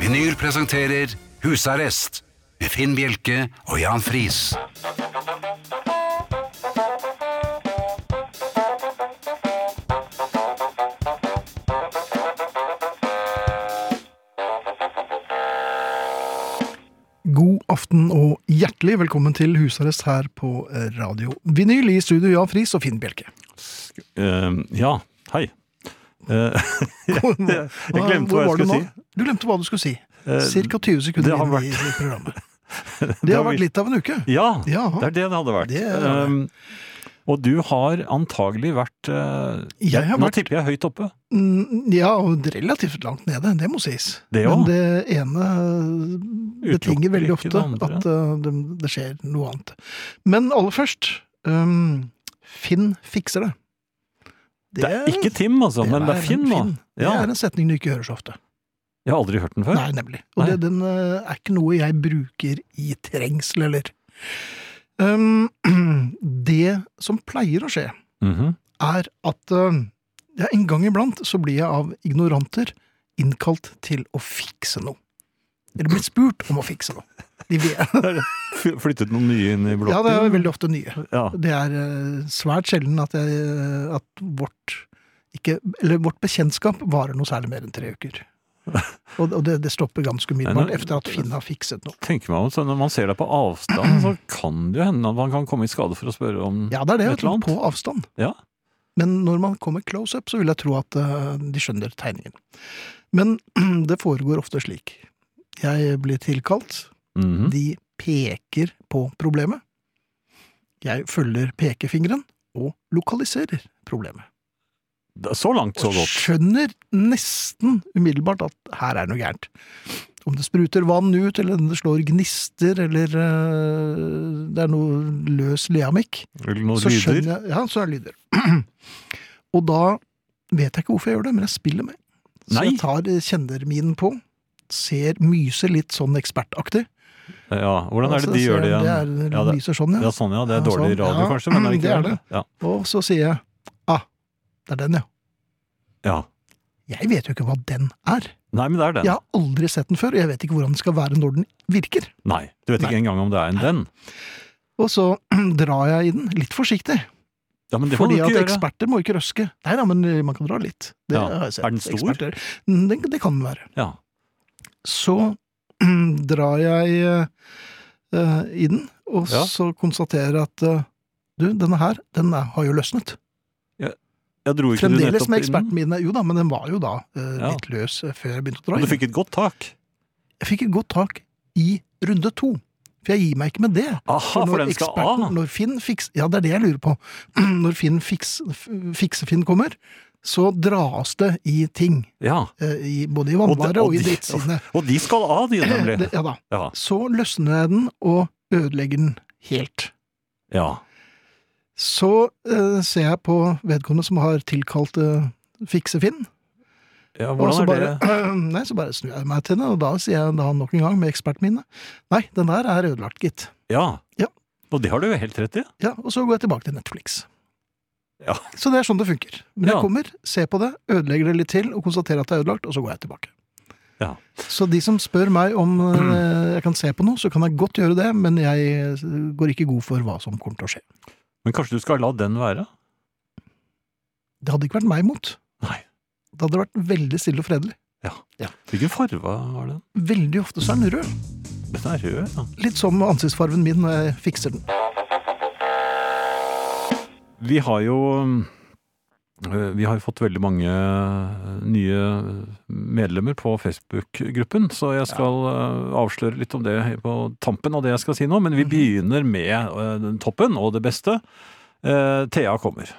Vinyl presenterer Husarrest med Finn Bjelke og Jan Friis. God aften og hjertelig velkommen til husarrest her på eh, Radio Vinyl. I studio Jan Friis og Finn Bjelke. Eh, ja, hei. Eh, jeg Hva- glemte hvor hva jeg var du skulle nå? si. Du glemte hva du skulle si. Eh, Cirka 20 sekunder det har inn i vært- programmet. Det har vært litt av en uke. Ja, Ja. det er det det hadde vært. Det er det. Eh, og du har antagelig vært eh, Jeg har Nå vært- tipper jeg høyt oppe. Mm, Ja, og relativt langt nede, det må sies. Det Men òg. det ene betinger veldig ikke det ofte andre. at eh, det, det skjer noe annet. Men aller først um, Finn fikser det. Det er ikke Tim, altså, men det er Finn nå. Det Ja. er en setning du ikke hører så ofte. Jeg har aldri hørt den før. Nei, nemlig. Og Nei. Det, den eh, er ikke noe jeg bruker i trengsel, eller. Um, det som pleier å skje, Mhm. er at eh, ja, en gang iblant så blir jeg av ignoranter innkalt til å fikse noe. Eller blir spurt om å fikse noe. De vet. Fly- Flyttet noen nye inn i blokken? Ja, det er veldig ofte nye. Ja. Det er eh, svært sjelden at, jeg, eh, at vårt, ikke, eller vårt bekjentskap varer noe særlig mer enn tre uker. Og, og det, det stopper ganske umiddelbart Nei, nå- etter at Finn har fikset noe. Tenker meg om, så Når man ser deg på avstand, så kan det jo hende at man kan komme i skade for å spørre om Ja, det er det. Et Jeg eller tror, annet. på avstand. Ja. Men når man kommer close up, så vil jeg tro at eh, de skjønner tegningen. Men det foregår ofte slik. Jeg blir tilkalt. Mhm. De peker på problemet. Jeg følger pekefingeren og lokaliserer problemet. Da- Så langt, så Og godt. skjønner nesten umiddelbart at her er noe gærent. Om det spruter vann ut, eller om det slår gnister, eller eh, det er noe løs leamikk, Eller noen så lyder. skjønner jeg Ja, så er det lyder. og da vet jeg ikke hvorfor jeg gjør det, men jeg spiller med. Så Nei. jeg tar eh, kjennerminen på. Ser myser litt sånn ekspertaktig. Ja, Hvordan er det Altså, de gjør ser det igjen? jeg- Det er, Ja, det- myser sånn, ja. Ja, sånn ja. Det er Ja, dårlig sånn. radio, Ja, kanskje, men det er det ikke er det. det. Ja. Og så sier jeg ah, det er den, ja. ja. Jeg vet jo ikke hva den er. Nei, men det er den. Jeg har aldri sett den før, og jeg vet ikke hvordan den skal være når den virker. Nei, du vet ikke Nei. engang om det er en den. Og så drar jeg i den, litt forsiktig, Ja, men det må fordi du ikke at gjøre. eksperter må ikke røske. Nei da, men eh, man kan dra litt. Det Ja. har jeg sett. Er den stor? Eksperter. Det, det kan den være. Ja. så drar jeg eh, i den, og Ja. så konstaterer jeg at eh, du, denne her, den er, har jo løsnet. Jeg dro ikke du Fremdeles med nettopp i den? eksperten min, jo da, men den var jo da eh, Ja. litt løs eh, før jeg begynte å dra Og du i den. fikk et godt tak. Jeg fikk et godt tak i runde to, for jeg gir meg ikke med det. Aha, for når den skal eksperten- av. Når Finn fiks, ja, det er det jeg lurer på. Når Finn fiks, Fiksefinn kommer, så dras det i ting. Ja. eh, I, både i de- vannvare og, i de- drittsidene. og de skal av, de, nemlig. Det- Ja da. Ja. Så løsner jeg den og ødelegger den helt. ja. Så eh, ser jeg på vedkommende som har tilkalt uh, Fiksefinn. ja Og så hvordan bare, er det? nei, så bare snur jeg meg til henne, og da sier jeg da nok en gang med eksperten mine Nei, den der er ødelagt, gitt. Ja. Ja. Og det har du jo helt rett i. Ja, Og så går jeg tilbake til Netflix. Ja. Så det er sånn det funker. Men Ja. jeg kommer, ser på det, ødelegger det litt til og konstaterer at det er ødelagt, og så går jeg tilbake. Ja. Så de som spør meg om eh, jeg kan se på noe, så kan jeg godt gjøre det, men jeg eh, går ikke god for hva som kommer til å skje. Men kanskje du skal la den være? Det hadde ikke vært meg imot. Nei. Det hadde vært veldig stille og fredelig. Hvilken farge var den? Veldig ofte så er den rød. Den er rød, ja. Litt som ansiktsfarven min når jeg fikser den. Vi har jo øh, vi har jo fått veldig mange øh, nye medlemmer på Facebook-gruppen, så jeg skal øh, avsløre litt om det på tampen av det jeg skal si nå. Men Mhm. vi begynner med øh, den toppen og det beste. Eh, Thea kommer.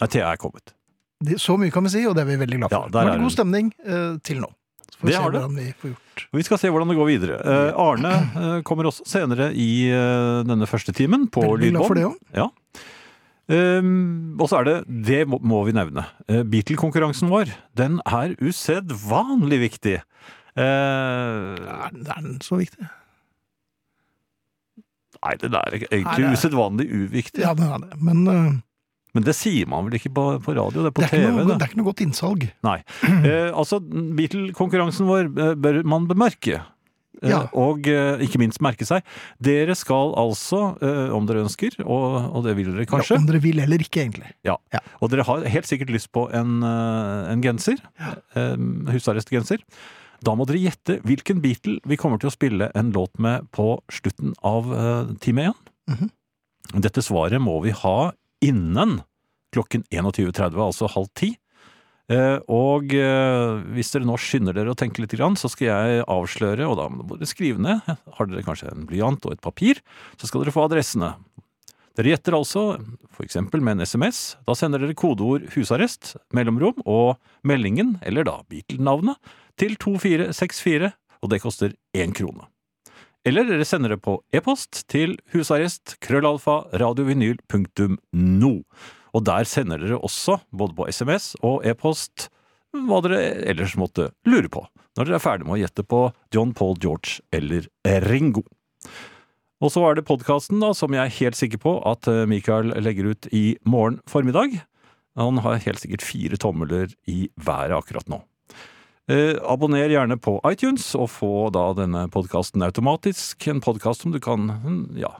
Nei, Thea er kommet. Det, så mye kan vi si, og det er vi veldig glad Ja, for. der Nå er er det hun. god stemning eh, til nå. Så får Det vi se har det. hvordan vi får gjort. Vi skal se hvordan det går videre. Eh, Arne eh, kommer også senere i eh, denne første timen på Veldig glad for lydbånd. det òg. Ja. Ehm, og så er det, det må, må vi nevne, Eh, Beatle-konkurransen vår, den er usedvanlig viktig. Eh, Er den- er den så viktig? nei, den er egentlig Nei, det er- usedvanlig uviktig. Ja, den er det. Men eh, Men det sier man vel ikke på, på radio, det er på Det er, ikke TV. noe, det. det er ikke noe godt innsalg. Nei. Eh, altså, Beatle-konkurransen vår eh, bør man bemerke. Eh, Ja. Og eh, ikke minst merke seg. Dere skal altså, eh, om dere ønsker, og, og det vil dere Ja, kanskje, om dere vil eller ikke, egentlig. ja. Ja. Og dere har helt sikkert lyst på en, eh, en genser. eh, Husarrestgenser. Da må dere gjette hvilken Beatle vi kommer til å spille en låt med på slutten av eh, time 1. Mhm. Dette svaret må vi ha innen klokken 21.30, altså halv ti. Eh, og eh, hvis dere nå skynder dere å tenke litt, grann, så skal jeg avsløre, og da må dere skrive ned. Har dere kanskje en blyant og et papir, så skal dere få adressene. Dere gjetter altså, for eksempel med en SMS. Da sender dere kodeord 'husarrest', mellomrom og meldingen, eller da Beatle-navnet, til 2464, og det koster én krone. Eller dere sender det på e-post til husarrest krøllalfa radiovinyl.no. Og der sender dere også, både på SMS og e-post, hva dere ellers måtte lure på, når dere er ferdig med å gjette på John Paul George eller Ringo. Og så er det podkasten, da, som jeg er helt sikker på at eh, Mikael legger ut i morgen formiddag. Han har helt sikkert fire tommeler i været akkurat nå. Eh, abonner gjerne på iTunes, og få da denne podkasten automatisk. En podkast som du kan hm, ja,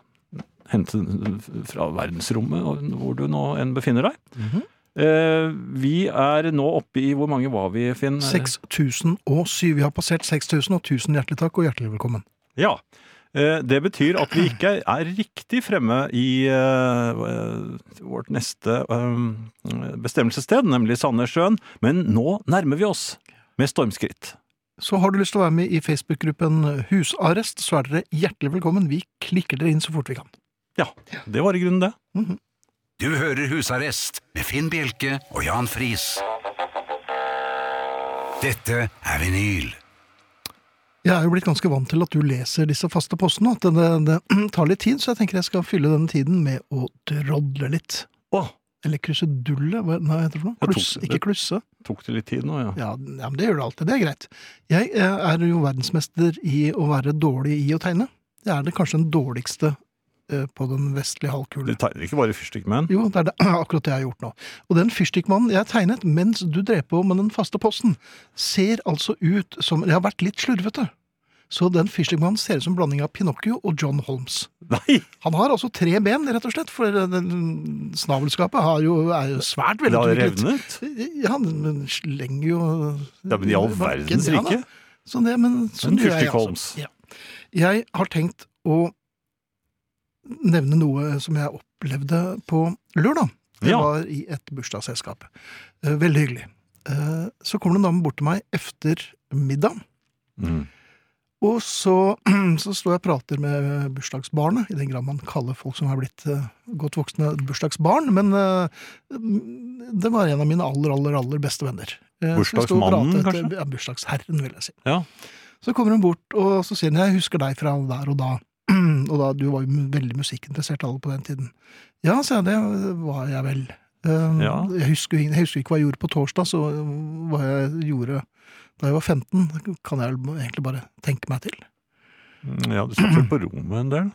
hente fra verdensrommet, og hvor du nå enn befinner deg. Eh, vi er nå oppe i Hvor mange var vi, Finn? 6007. Vi har passert 6000, og tusen hjertelig takk og hjertelig velkommen. Ja. Eh, Det betyr at vi ikke er riktig fremme i eh, eh, vårt neste eh, bestemmelsessted, nemlig Sandnessjøen, men nå nærmer vi oss med stormskritt. Så har du lyst til å være med i Facebook-gruppen Husarrest, så er dere hjertelig velkommen. Vi klikker dere inn så fort vi kan. Ja, det var i grunnen det. Du hører Husarrest med Finn Bjelke og Jan Friis. Dette er vinyl. Jeg er jo blitt ganske vant til at du leser disse faste postene, at det, det tar litt tid, så jeg tenker jeg skal fylle denne tiden med å drodle litt. Å, Eller krusedulle, hva nei, hva heter det for noe? Jeg tok Kluss, det. ikke klusse. tok det litt tid nå, ja. Ja, ja, men det gjør det alltid, det er greit. Jeg eh, er jo verdensmester i å være dårlig i å tegne. Jeg er det kanskje den dårligste eh, på den vestlige Du halvkule. tegner ikke bare fyrstikkmenn. Jo, det er det, akkurat det jeg har gjort nå. Og den fyrstikkmannen jeg tegnet mens du drev på med den faste posten, ser altså ut som Jeg har vært litt slurvete. Så den fyrstikkmannen ser ut som en blanding av Pinocchio og John Holmes. Nei! Han har altså tre ben, rett og slett, for den- snavelskapet har jo, er jo svært Det har velutviklet. revnet. Ja, Han slenger jo Ja, men i all verdens Ja, da. rike. Sånn det, men sånn gjør jeg, fyrstikk altså. Holmes. Ja. Jeg har tenkt å nevne noe som jeg opplevde på lørdag. Det Ja. var i et bursdagsselskap. Eh, Veldig hyggelig. Eh, Så kommer det en dame bort til meg efter middag, Mm. og så, så står jeg og prater med bursdagsbarnet, i den grad man kaller folk som har blitt eh, godt voksne bursdagsbarn, men eh, det var en av mine aller, aller, aller beste venner. Eh, så vi sto og Bursdagsmannen, pratet etter- Ja, bursdagsherren, vil jeg si. Ja. Så kommer hun bort, og så sier hun, jeg husker deg fra der og da. og da, du var jo mu- veldig musikkinteressert alle på den tiden. Ja, sa jeg, det var jeg vel. Eh, Ja. jeg, husker, jeg husker ikke hva jeg gjorde på torsdag, så um, hva jeg gjorde da jeg var 15, kan jeg vel egentlig bare tenke meg til. Mm, ja, du satt vel på rommet en del?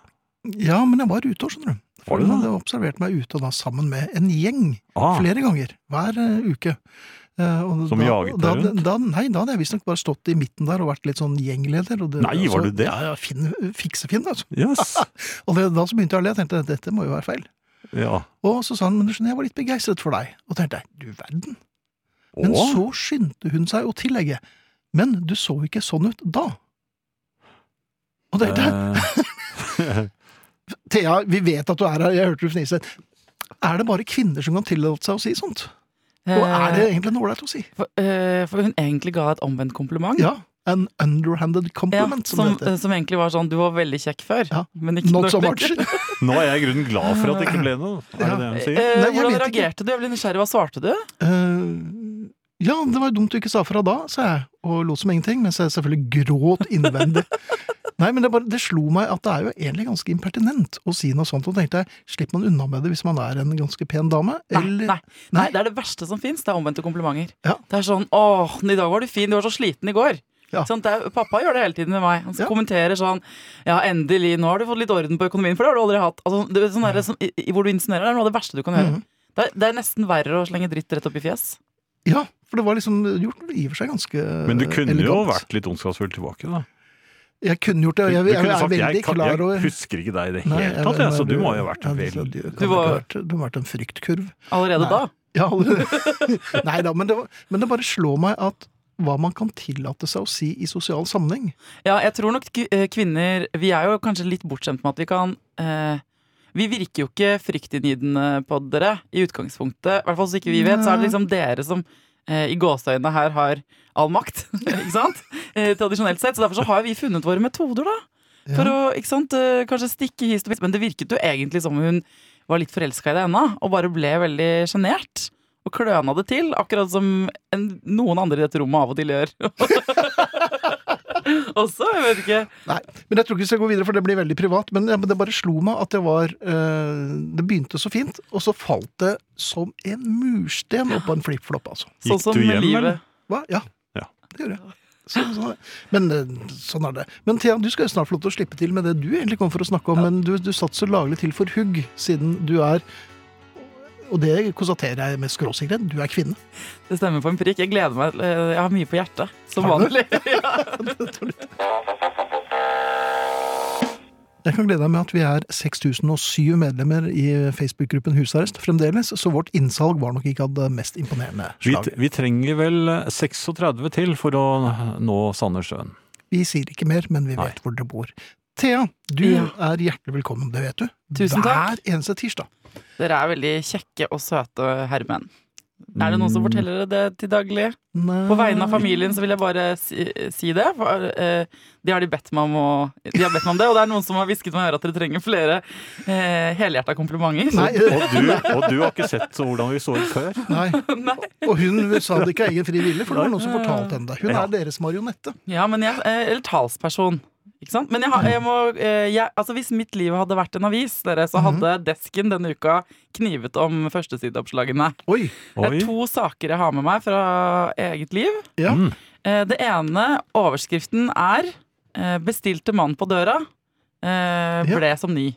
Ja, men jeg var ute òg, skjønner du. Var du Hun det? hadde observert meg ute og da sammen med en gjeng Ah, flere ganger hver eh, uke. Eh, og Som jaget deg da, rundt? Da, nei, da hadde jeg visstnok bare stått i midten der og vært litt sånn gjengleder. Og det, Nei, var altså, du det? Ja, ja, fin, Fiksefinn, altså. yes. Og det, da så begynte jeg å le, jeg tenkte dette må jo være feil. Ja. Og så sa han men du skjønner, jeg var litt begeistret for deg. Og tenkte jeg, du verden. Men Å, så skyndte hun seg å tillegge. Men du så ikke sånn ut da. Og det, det, eh, Thea, vi vet at du er her, jeg hørte du fnise. Er det bare kvinner som kan tillate seg å si sånt? Og er det egentlig noe ålreit å si? Eh, for, eh, for hun egentlig ga et omvendt kompliment. Ja. An underhanded Ja, compliment, som, som, det heter. eh, som egentlig var sånn 'du var veldig kjekk før', Ja. men ikke Not nå so much. lenger. Nå er jeg i grunnen glad for at det ikke ble noe. Er det det hun Eh, sier? Nei, jeg hvordan vet ikke. reagerte du? Jeg ble nysgjerrig. Hva svarte du? Eh, ja, det var jo dumt du ikke sa fra da, sa jeg, og lot som ingenting, mens jeg selvfølgelig gråt innvendig. Nei, men det, bare, det slo meg at det er jo egentlig ganske impertinent å si noe sånt, og tenkte jeg, slipper man unna med det hvis man er en ganske pen dame? Nei, Eller- nei, nei, det er det verste som fins. Det er omvendte komplimenter. Ja. Det er sånn 'Åh, i dag var du fin. Du var så sliten i går'. Ja. Sånn, det er, pappa gjør det hele tiden med meg. Han Ja. kommenterer sånn 'Ja, Mhm. endelig. Nå har du fått litt orden på økonomien, for det har du aldri hatt'. Altså, det, er sånn der, som, i, i, hvor du insinuerer, det er noe av det verste du kan gjøre. Det er, det er nesten verre å slenge dritt rett opp i fjes. Ja, for det var liksom gjort i og for seg ganske Men du kunne Eh, elegant. jo vært litt ondskapsfull tilbake, da. Jeg kunne gjort det, og jeg, Du jeg, kunne jeg er sagt, veldig kan- klar over Jeg husker ikke deg i det Nei, hele jeg- tatt, jeg, jeg- så du må jo ha vært jeg- vel Du, kan Du ikke ha var- vært, du har vært en fryktkurv. Allerede Nei. da. Ja, alle- Nei da, men det, var- men det bare slår meg at hva man kan tillate seg å si i sosial sammenheng. Ja, jeg tror nok k- eh, kvinner Vi er jo kanskje litt bortskjemt med at vi kan eh, Vi virker jo ikke fryktinngytende på dere i utgangspunktet. I hvert fall så ikke vi vet, så er det liksom dere som eh, i gåseøynene her har all makt. ikke sant? Eh, tradisjonelt sett. Så derfor så har vi funnet våre metoder, da. Ja. For å ikke sant, eh, kanskje stikke hist og pist. Men det virket jo egentlig som hun var litt forelska i det ennå, og bare ble veldig sjenert. Og kløna det til, akkurat som en, noen andre i dette rommet av og til gjør. Også, jeg vet ikke. Nei, men jeg tror ikke vi skal gå videre, for det blir veldig privat. Men, ja, men det bare slo meg at det var eh, Det begynte så fint, og så falt det som en mursten oppå en flippflopp, altså. Gikk Sånn som du hjem, livet. eller? Hva? Ja. Ja. Det gjør jeg. Så, så, men eh, sånn er det. Men Thea, du skal jo snart få lov til å slippe til med det du egentlig kom for å snakke om, men du, du satt så laglig til for hugg, siden du er Og det konstaterer jeg med skråsikkerhet, du er kvinne. Det stemmer på en prikk. Jeg gleder meg. eh, Jeg har mye på hjertet, som Har du? vanlig. Ja. Jeg kan glede deg med at vi er 6007 medlemmer i Facebook-gruppen Husarrest fremdeles, så vårt innsalg var nok ikke av det mest imponerende Vi, slag. vi trenger vel 36 til for å nå Sandnessjøen. Vi sier ikke mer, men vi vet Nei. hvor dere bor. Thea, du Ja. er hjertelig velkommen, det vet du. Tusen takk. Hver eneste tirsdag. Dere er veldig kjekke og søte herremenn. Er det noen som Mm. forteller dere det til daglig? Nei. På vegne av familien så vil jeg bare si, si det. For, eh, de har de bedt meg om å, de har bedt meg om det, og det er noen som har hvisket meg i øret at dere trenger flere uh, helhjerta komplimenter. Nei, Og du, og du har ikke sett hvordan vi så ut før? Nei. Nei. Og hun sa det ikke av egen fri vilje, for det var noen som fortalte henne det. Hun Ja. er deres marionette. Ja, men jeg, eh, eller talsperson. Ikke sant? Men jeg, har- jeg må eh, jeg, altså Hvis mitt liv hadde vært en avis, dere, så Mhm. hadde desken denne uka knivet om førstesideoppslagene. Oi! Det Oi. er to saker jeg har med meg fra eget liv. Ja. Mm. Eh, Det ene, overskriften er eh, 'Bestilte mann på døra'. eh, Ja. Ble som ny.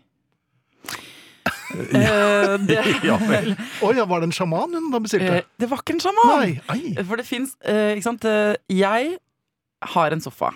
Eh, det, Ja vel. Oi, ja, var det en sjaman hun da bestilte? eh, det var ikke en sjaman! Nei, ei. For det fins Ikke sant. eh, Jeg har en sofa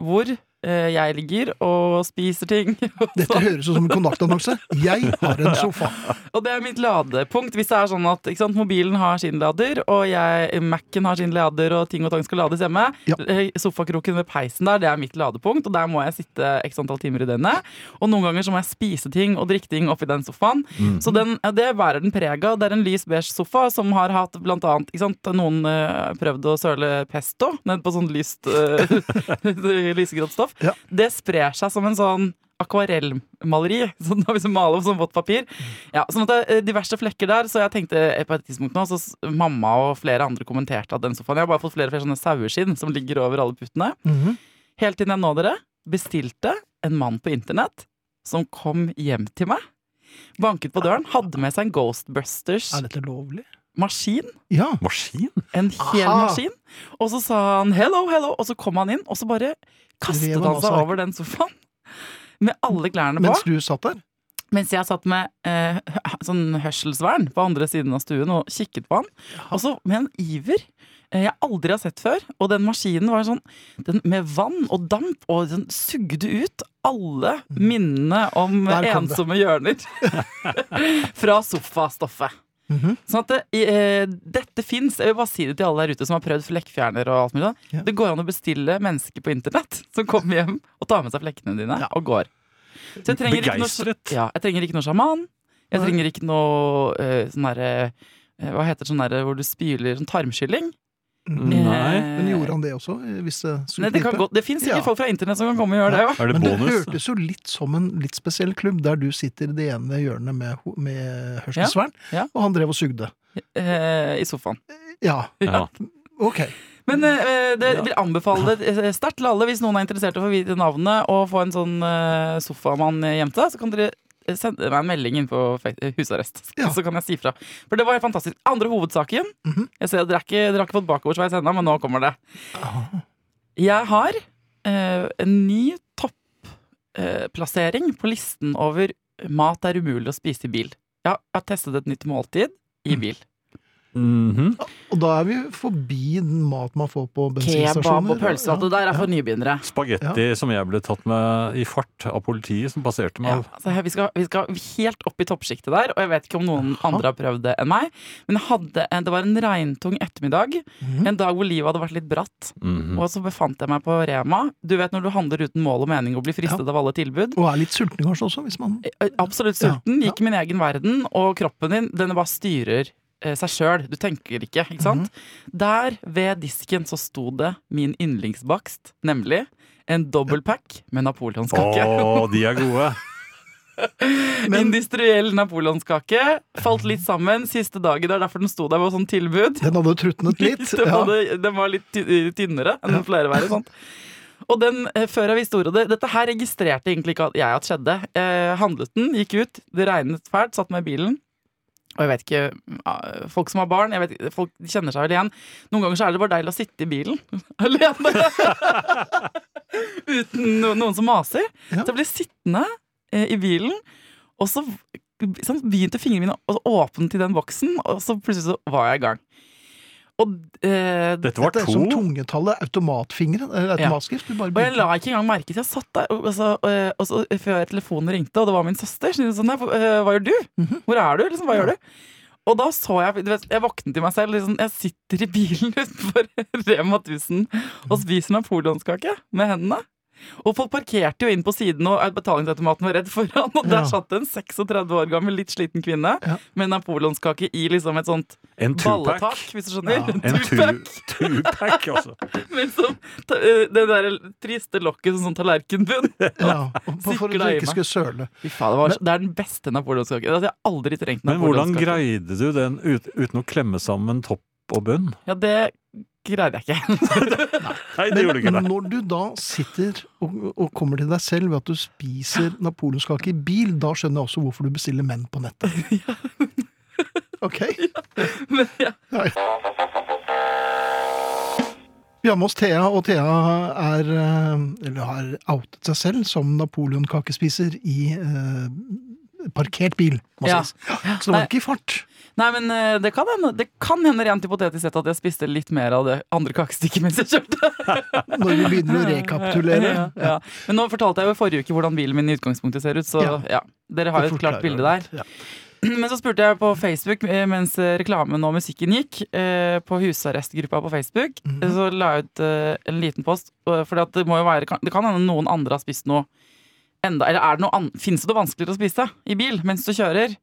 hvor eh, jeg ligger og spiser ting. Dette høres ut som en kontaktannonse. Jeg har en sofa. og det er mitt ladepunkt. Hvis det er sånn at ikke sant, mobilen har sin lader, og jeg, Mac-en har sin lader, og ting og tang skal lades hjemme Ja. eh, Sofakroken ved peisen der, det er mitt ladepunkt, og der må jeg sitte x antall timer i døgnet. Og noen ganger så må jeg spise ting og drikke ting oppi den sofaen. Mm. Så den, ja, det bærer den preg av. Det er en lys beige sofa som har hatt blant annet ikke sant, Noen eh, prøvd å søle pesto ned på sånn lyst eh, lysegrått stoff. Ja. Det sprer seg som en sånn akvarellmaleri. Sånn da hvis du maler opp sånn vått papir. Ja, sånn at det er eh, diverse flekker der, så jeg tenkte eh, på et tidspunkt nå, så s- mamma og flere andre kommenterte at den sofaen Jeg har bare fått flere og flere sånne saueskinn som ligger over alle puttene. Mhm. Helt til jeg nå dere bestilte en mann på internett som kom hjem til meg. Banket på døren, hadde med seg en Er Ghostbusters-maskin. dette lovlig? Ja. Maskin? En hel Aha. maskin. Og så sa han 'hello, hello', og så kom han inn, og så bare kastet Rev han han seg også. over den sofaen. Med alle klærne på. Mens du satt der? Mens jeg satt med eh, hø- sånn hørselsvern på andre siden av stuen og kikket på han. Og så med en iver eh, jeg aldri har sett før. Og den maskinen var sånn den, med vann og damp, og den sugde ut alle minnene om Der kom Mm. det. ensomme hjørner fra sofastoffet. Mhm. Sånn at det, eh, dette fins. Jeg vil bare si det til alle der ute som har prøvd flekkfjerner og alt mulig. sånn. Ja. Det går an å bestille mennesker på internett som kommer hjem og tar med seg flekkene dine Ja. og går. Så jeg trenger ikke noe- Begeistret. ja, jeg trenger ikke noe sjaman. Jeg Nei. trenger ikke noe eh, sånn derre eh, Hva heter det sånn derre hvor du spyler sånn tarmskylling? Eh, Mhm. Nei. Men gjorde han det også? eh, Hvis det skulle Nei, det kan knipe? godt, det fins sikkert Ja. folk fra internett som kan komme og gjøre det. Ja. Er det Men det bonus? hørtes jo litt som en litt spesiell klubb, der du sitter i det ene hjørnet med, ho- med hørselsvern, Ja, ja. og han drev og sugde. Eh, I sofaen. Ja, Ja. ok. Mm. Men eh, det vil anbefale det eh, sterkt til alle hvis noen er interessert i å få vite navnet og få en sånn eh, sofamann hjem til deg. Så kan dere eh, sende meg en melding inn på fe- eh, husarrest, Ja. så kan jeg si fra. For det var helt fantastisk. Andre hovedsaken. Mhm. Jeg ser at Dere har ikke, dere har ikke fått bakoversveis ennå, men nå kommer det. Jeg har eh, en ny eh, topplassering på listen over mat det er umulig å spise i bil. Jeg har, jeg har testet et nytt måltid i Mm. bil. Mhm. Og da er vi forbi den mat man får på Kebab bensinstasjoner. og pølse, alt det der er for nybegynnere. Spagetti som jeg ble tatt med i fart av politiet som passerte Ja, meg. altså, her- vi, skal, vi skal helt opp i toppsjiktet der, og jeg vet ikke om noen andre har prøvd det enn meg. Men jeg hadde, en- det var en regntung ettermiddag, Mhm. en dag hvor livet hadde vært litt bratt. Mhm. Mm. Og så befant jeg meg på Rema. Du vet når du handler uten mål og mening og blir fristet av alle tilbud. Og er litt sulten kanskje også, hvis man Eh, Absolutt sulten. Gikk i min egen verden, og kroppen din den bare styrer eh, seg sjøl. Du tenker ikke, ikke sant? Der ved disken så sto det min yndlingsbakst, nemlig en dobbeltpack med napoleonskake. Å, de er gode! Industriell napoleonskake. Falt litt sammen siste dagen. Det er derfor den sto der med sånn tilbud. Den hadde trutnet litt. Den, Ja. hadde, den var litt ty- tynnere enn den pleier å være. Sant? Og den, eh, før jeg visste ordet av det Dette her registrerte egentlig ikke at jeg at skjedde. Eh, handlet den, gikk ut, det regnet fælt, satt meg i bilen. Og jeg vet ikke, eh, Folk som har barn, jeg vet, ikke, folk kjenner seg vel igjen. Noen ganger så er det bare deilig å sitte i bilen alene. Uten no- noen som maser. Ja. Så jeg ble sittende eh, i bilen, og så sånn, begynte fingrene mine å åpne til den boksen, og så plutselig så var jeg i gang. Og, eh, Dette var Dette er som to. tungetallet, automatfingeren, eller Ja. automatskrift. Du bare og jeg begynte. la ikke engang merke til Jeg satt der, og så, og- og så øh, før telefonen ringte, og det var min søster, så sånn, «Nei, hvor- eh, hva gjør du? Hvor er du? Liksom, hva gjør du? Og da så jeg du vet, Jeg våknet til meg selv. Liksom, jeg sitter i bilen utenfor Rema 1000 og spiser napoleonskake med hendene. Og folk parkerte jo inn på siden, og betalingsautomaten var redd foran. Og der Ja. satt det en 36 år gammel, litt sliten kvinne Ja. med napoleonskake i liksom et sånt En balletak, tupac. hvis du skjønner. Ja. En En tupac. tu- tupac, altså. Men som ta- eh, det der triste lokket som sånn tallerkenbunn. Ja, for, for at Sikla du i ikke meg. skulle søle. Fy faen, det, var, det er den beste napoleonskaken. Altså, jeg har aldri trengt Men hvordan napoleonskake. greide du den ut, uten å klemme sammen topp og bunn? Ja, det greide jeg ikke. Nei, det Men, gjorde du ikke. men Nei. når du da sitter og, og kommer til deg selv ved at du spiser napoleonskake i bil, da skjønner jeg også hvorfor du bestiller menn på nettet. Ok? Men, ja. Vi har med oss Thea, og Thea er, eh, eller har outet seg selv som napoleonkakespiser i eh, parkert bil. må Ja. sies. Så det var ikke i fart. Nei, men eh, det kan hende, det kan hende rent hypotetisk sett at jeg spiste litt mer av det andre kakestykket mens jeg kjørte. Når vi begynner å rekapitulere. Ja, ja. Men nå fortalte jeg jo i forrige uke hvordan bilen min i utgangspunktet ser ut, så ja. Ja. Dere har jo et klart bilde der. Ja. Men så spurte jeg på Facebook eh, mens eh, reklamen og musikken gikk, eh, på husarrestgruppa på Facebook, Mhm. eh, så la jeg ut eh, en liten post. For det må jo være kan- Det kan hende noen andre har spist noe enda Eller er det noe annet Fins det noe vanskeligere å spise i bil mens du kjører?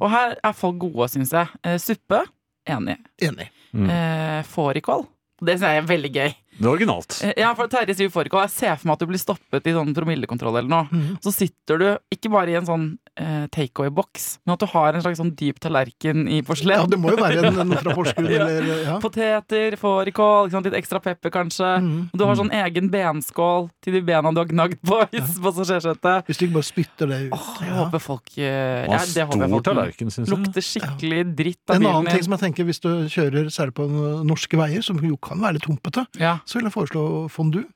Og her er folk gode, syns jeg. Eh, Suppe enig. Enig. Mm. Eh, Fårikål. Det syns jeg er veldig gøy. Det er originalt. Eh, Ja, for Terje sier fårikål. Jeg ser for meg at du blir stoppet i sånn promillekontroll eller noe. Mhm. Så sitter du ikke bare i en sånn eh, takeaway-boks, men at du har en slags sånn dyp tallerken i Ja, porselen. det må jo være en, en fra Porsgrunn, Ja. eller ja. Poteter, fårikål, ikke sant? litt ekstra pepper kanskje. Mhm. Og Du har sånn egen benskål til de bena du har gnagd på i passasjersetet. Hvis du ikke bare spytter det ut. Åh, jeg ja. håper folk eh, Det ja, var Det håper jeg stor folk tallerken, syns jeg. lukter skikkelig dritt av En bilen annen ting din. som jeg tenker, hvis du kjører særlig på eh, norske veier, som jo kan være litt humpete, Ja, så vil jeg foreslå fondue.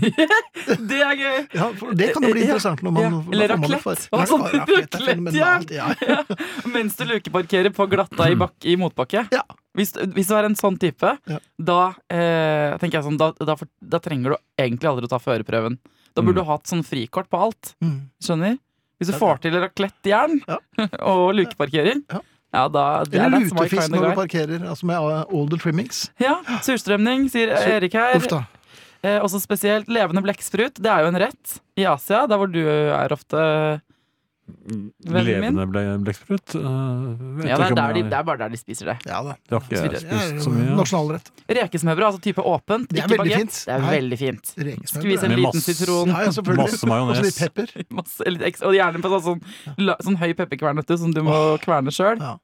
det er gøy! Ja, for det kan jo bli Ja, interessant når man ja. Eller når man raclette. får- Hva sånn Raclette er raclette, ja. fenomenalt, ja. Mens du lukeparkerer på glatta i, bak, i motbakke. Ja. Hvis, hvis du er en sånn type, Ja. da, eh, tenker jeg sånn, da, da, for, da trenger du egentlig aldri å ta førerprøven. Da Mm. burde du hatt sånn frikort på alt. Mm. Skjønner? Hvis du Ja, får til raclettejern Ja. og lukeparkering, Ja. ja, da det er Eller that's my lutefisk kind of når du guy. parkerer, altså med eh, older trimmings. Ja, surstrømning, sier Erik her. Uff da. Eh, også spesielt levende blekksprut. Det er jo en rett i Asia, der hvor du er ofte. Vennen Levende ble blekksprut? eh, vet Ja, det ikke er, om der de, jeg- det er bare der de spiser det. Ja da. Det har ikke Det jeg er spist jo så mye. av. Nasjonalrett. Rekesmørbrød, altså type åpent, Det er ikke veldig bagett. fint. Det er Nei. veldig fint. Skvis Rekesmørbrød. en Med liten masse- sitron. Ja, ja, selvfølgelig. Masse majones. Og så litt pepper. Masse, litt ekstra, og gjerne på sånn, sånn, la- sånn høy pepperkvernete som du må kverne sjøl. Ja.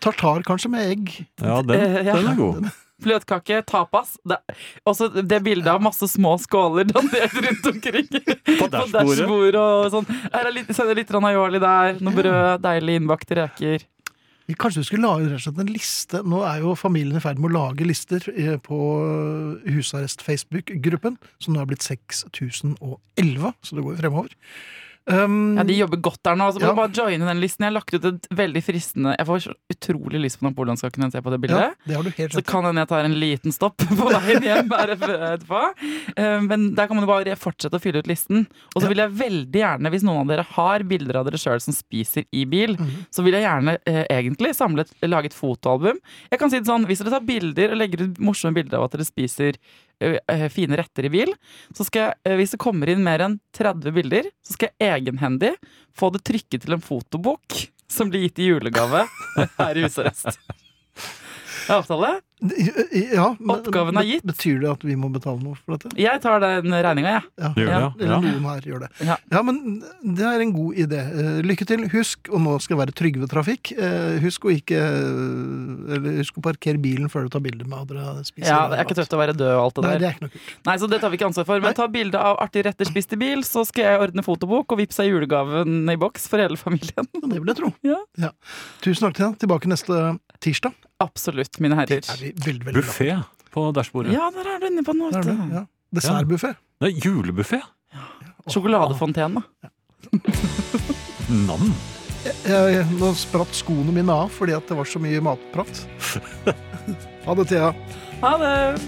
Tartar kanskje med egg. Ja, den, Eh, ja. den er god. Fløtkake, tapas. Det, også det bildet av masse små skåler dandert rundt omkring. På dashbordet. dashbord og sånn. Her er litt, så er det litt aioli der, noe brød, deilig innbakte reker. Kanskje du skulle lage rett og slett en liste. Nå er jo familien i ferd med å lage lister eh, på husarrest-Facebook-gruppen, som nå er blitt 6011, så det går jo fremover. Um, Ja, De jobber godt der nå. Så må Ja. du bare joine den listen. Jeg har lagt ut et veldig fristende Jeg får så utrolig lyst på napoleonskaken når jeg ser på det ja, bildet. det har du helt Så rett i. kan hende jeg tar en liten stopp på veien hjem her etterpå. Eh, Men der kan man jo bare fortsette å fylle ut listen. Og Ja. så vil jeg veldig gjerne, hvis noen av dere har bilder av dere sjøl som spiser i bil, så vil jeg gjerne eh, egentlig samle et lage et fotoalbum. Jeg kan si det sånn, Hvis dere tar bilder og legger ut morsomme bilder av at dere spiser eh, eh, fine retter i bil, så skal jeg, eh, hvis det kommer inn mer enn 30 bilder, så skal jeg egenhendig få det trykket til en fotobok som blir gitt i julegave her i Husarrest. Er avtale? eh, Ja, men- Oppgaven er gitt. Betyr det at vi må betale noe for dette? Jeg tar den regninga, jeg. Ja. Gjør Ja. det, ja. Eller noen her gjør det. Ja. Ja. men det er en god idé. Eh, Lykke til. Husk, og nå skal jeg være trygg ved trafikk, eh, husk å ikke eh, Eller husk å parkere bilen før du tar bilde med andre spiser. Ja, jeg er ikke tøft å være død og alt det Nei, der. det er ikke noe kult. Nei, så det tar vi ikke ansvar for. Men Nei. ta bilde av artige retter spist i bil, så skal jeg ordne fotobok og vippse julegaven i boks for hele familien. Men det vil jeg tro. Ja. Tusen takk til deg. Tilbake neste tirsdag. Absolutt, mine Det herrer. er vi veldig, veldig glad Buffé på dashbordet. Ja, der er du inne på noe. for. Det er det, vet du. Ja. Dessertbuffé. Det er julebuffé! Sjokoladefontene. Nam! Jeg- jeg- Nå spratt skoene mine av fordi at det var så mye matprat. Ha det, Thea. Ha det!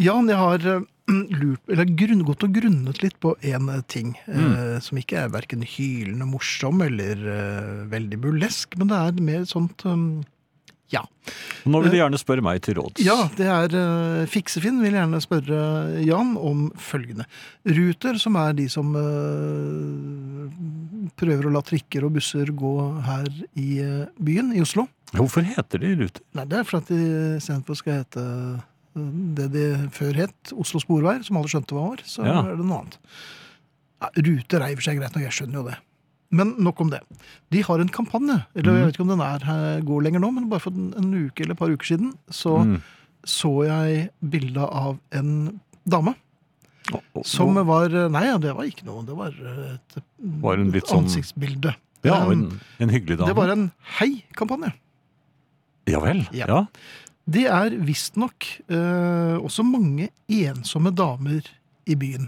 Jan, jeg har eh, lurt, eller grunn, gått og grunnet litt på en eh, ting eh, som ikke er verken hylende morsom eller eh, veldig burlesk, men det er mer sånt eh, Ja. Nå vil de gjerne spørre meg til råds. Eh, Ja, det er eh, Fiksefinn vil gjerne spørre Jan om følgende. Ruter, som er de som eh, prøver å la trikker og busser gå her i eh, byen, i Oslo Hvorfor heter de Ruter? Nei, det er for at de istedenfor skal hete eh, det de før het Oslo Sporveier, som alle skjønte hva var, så Ja. er det noe annet. Ja, ruter er i og for seg greit nok, jeg skjønner jo det. Men nok om det. De har en kampanje, eller jeg vet ikke om den er, her- går lenger nå, men bare for en, en uke eller et par uker siden så Mm. så jeg bilde av en dame Og- og- som var Nei, ja, det var ikke noe. Det var et, Var hun litt et sånn- ansiktsbilde. ja, Um, en, en hyggelig dame. det var en hei-kampanje. Ja vel. Ja. Ja. Det er visstnok eh, også mange ensomme damer i byen.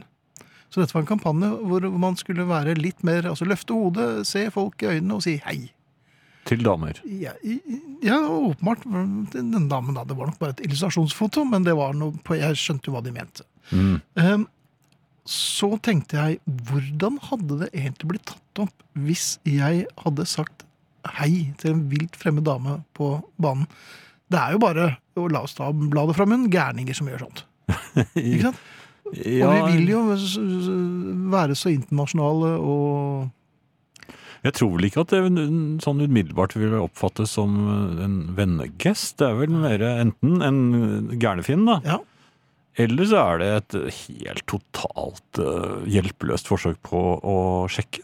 Så dette var en kampanje hvor man skulle være litt mer Altså løfte hodet, se folk i øynene og si hei. Til damer. Ja, i- i- ja åpenbart mm, den den damen, da. Det var nok bare et illustrasjonsfoto, men det var noe på, jeg skjønte jo hva de mente. Mm. Ehm, Så tenkte jeg, hvordan hadde det egentlig blitt tatt opp hvis jeg hadde sagt hei til en vilt fremmed dame på banen? Det er jo bare å la oss ta bladet fra munnen, gærninger som gjør sånt. Ikke sant? Og vi vil jo s- s- være så internasjonale og Jeg tror vel ikke at det un- sånn umiddelbart vil oppfattes som en vennegest. Det er vel mer enten en gærnefinn, da, Ja. eller så er det et helt totalt eh, hjelpeløst forsøk på å sjekke.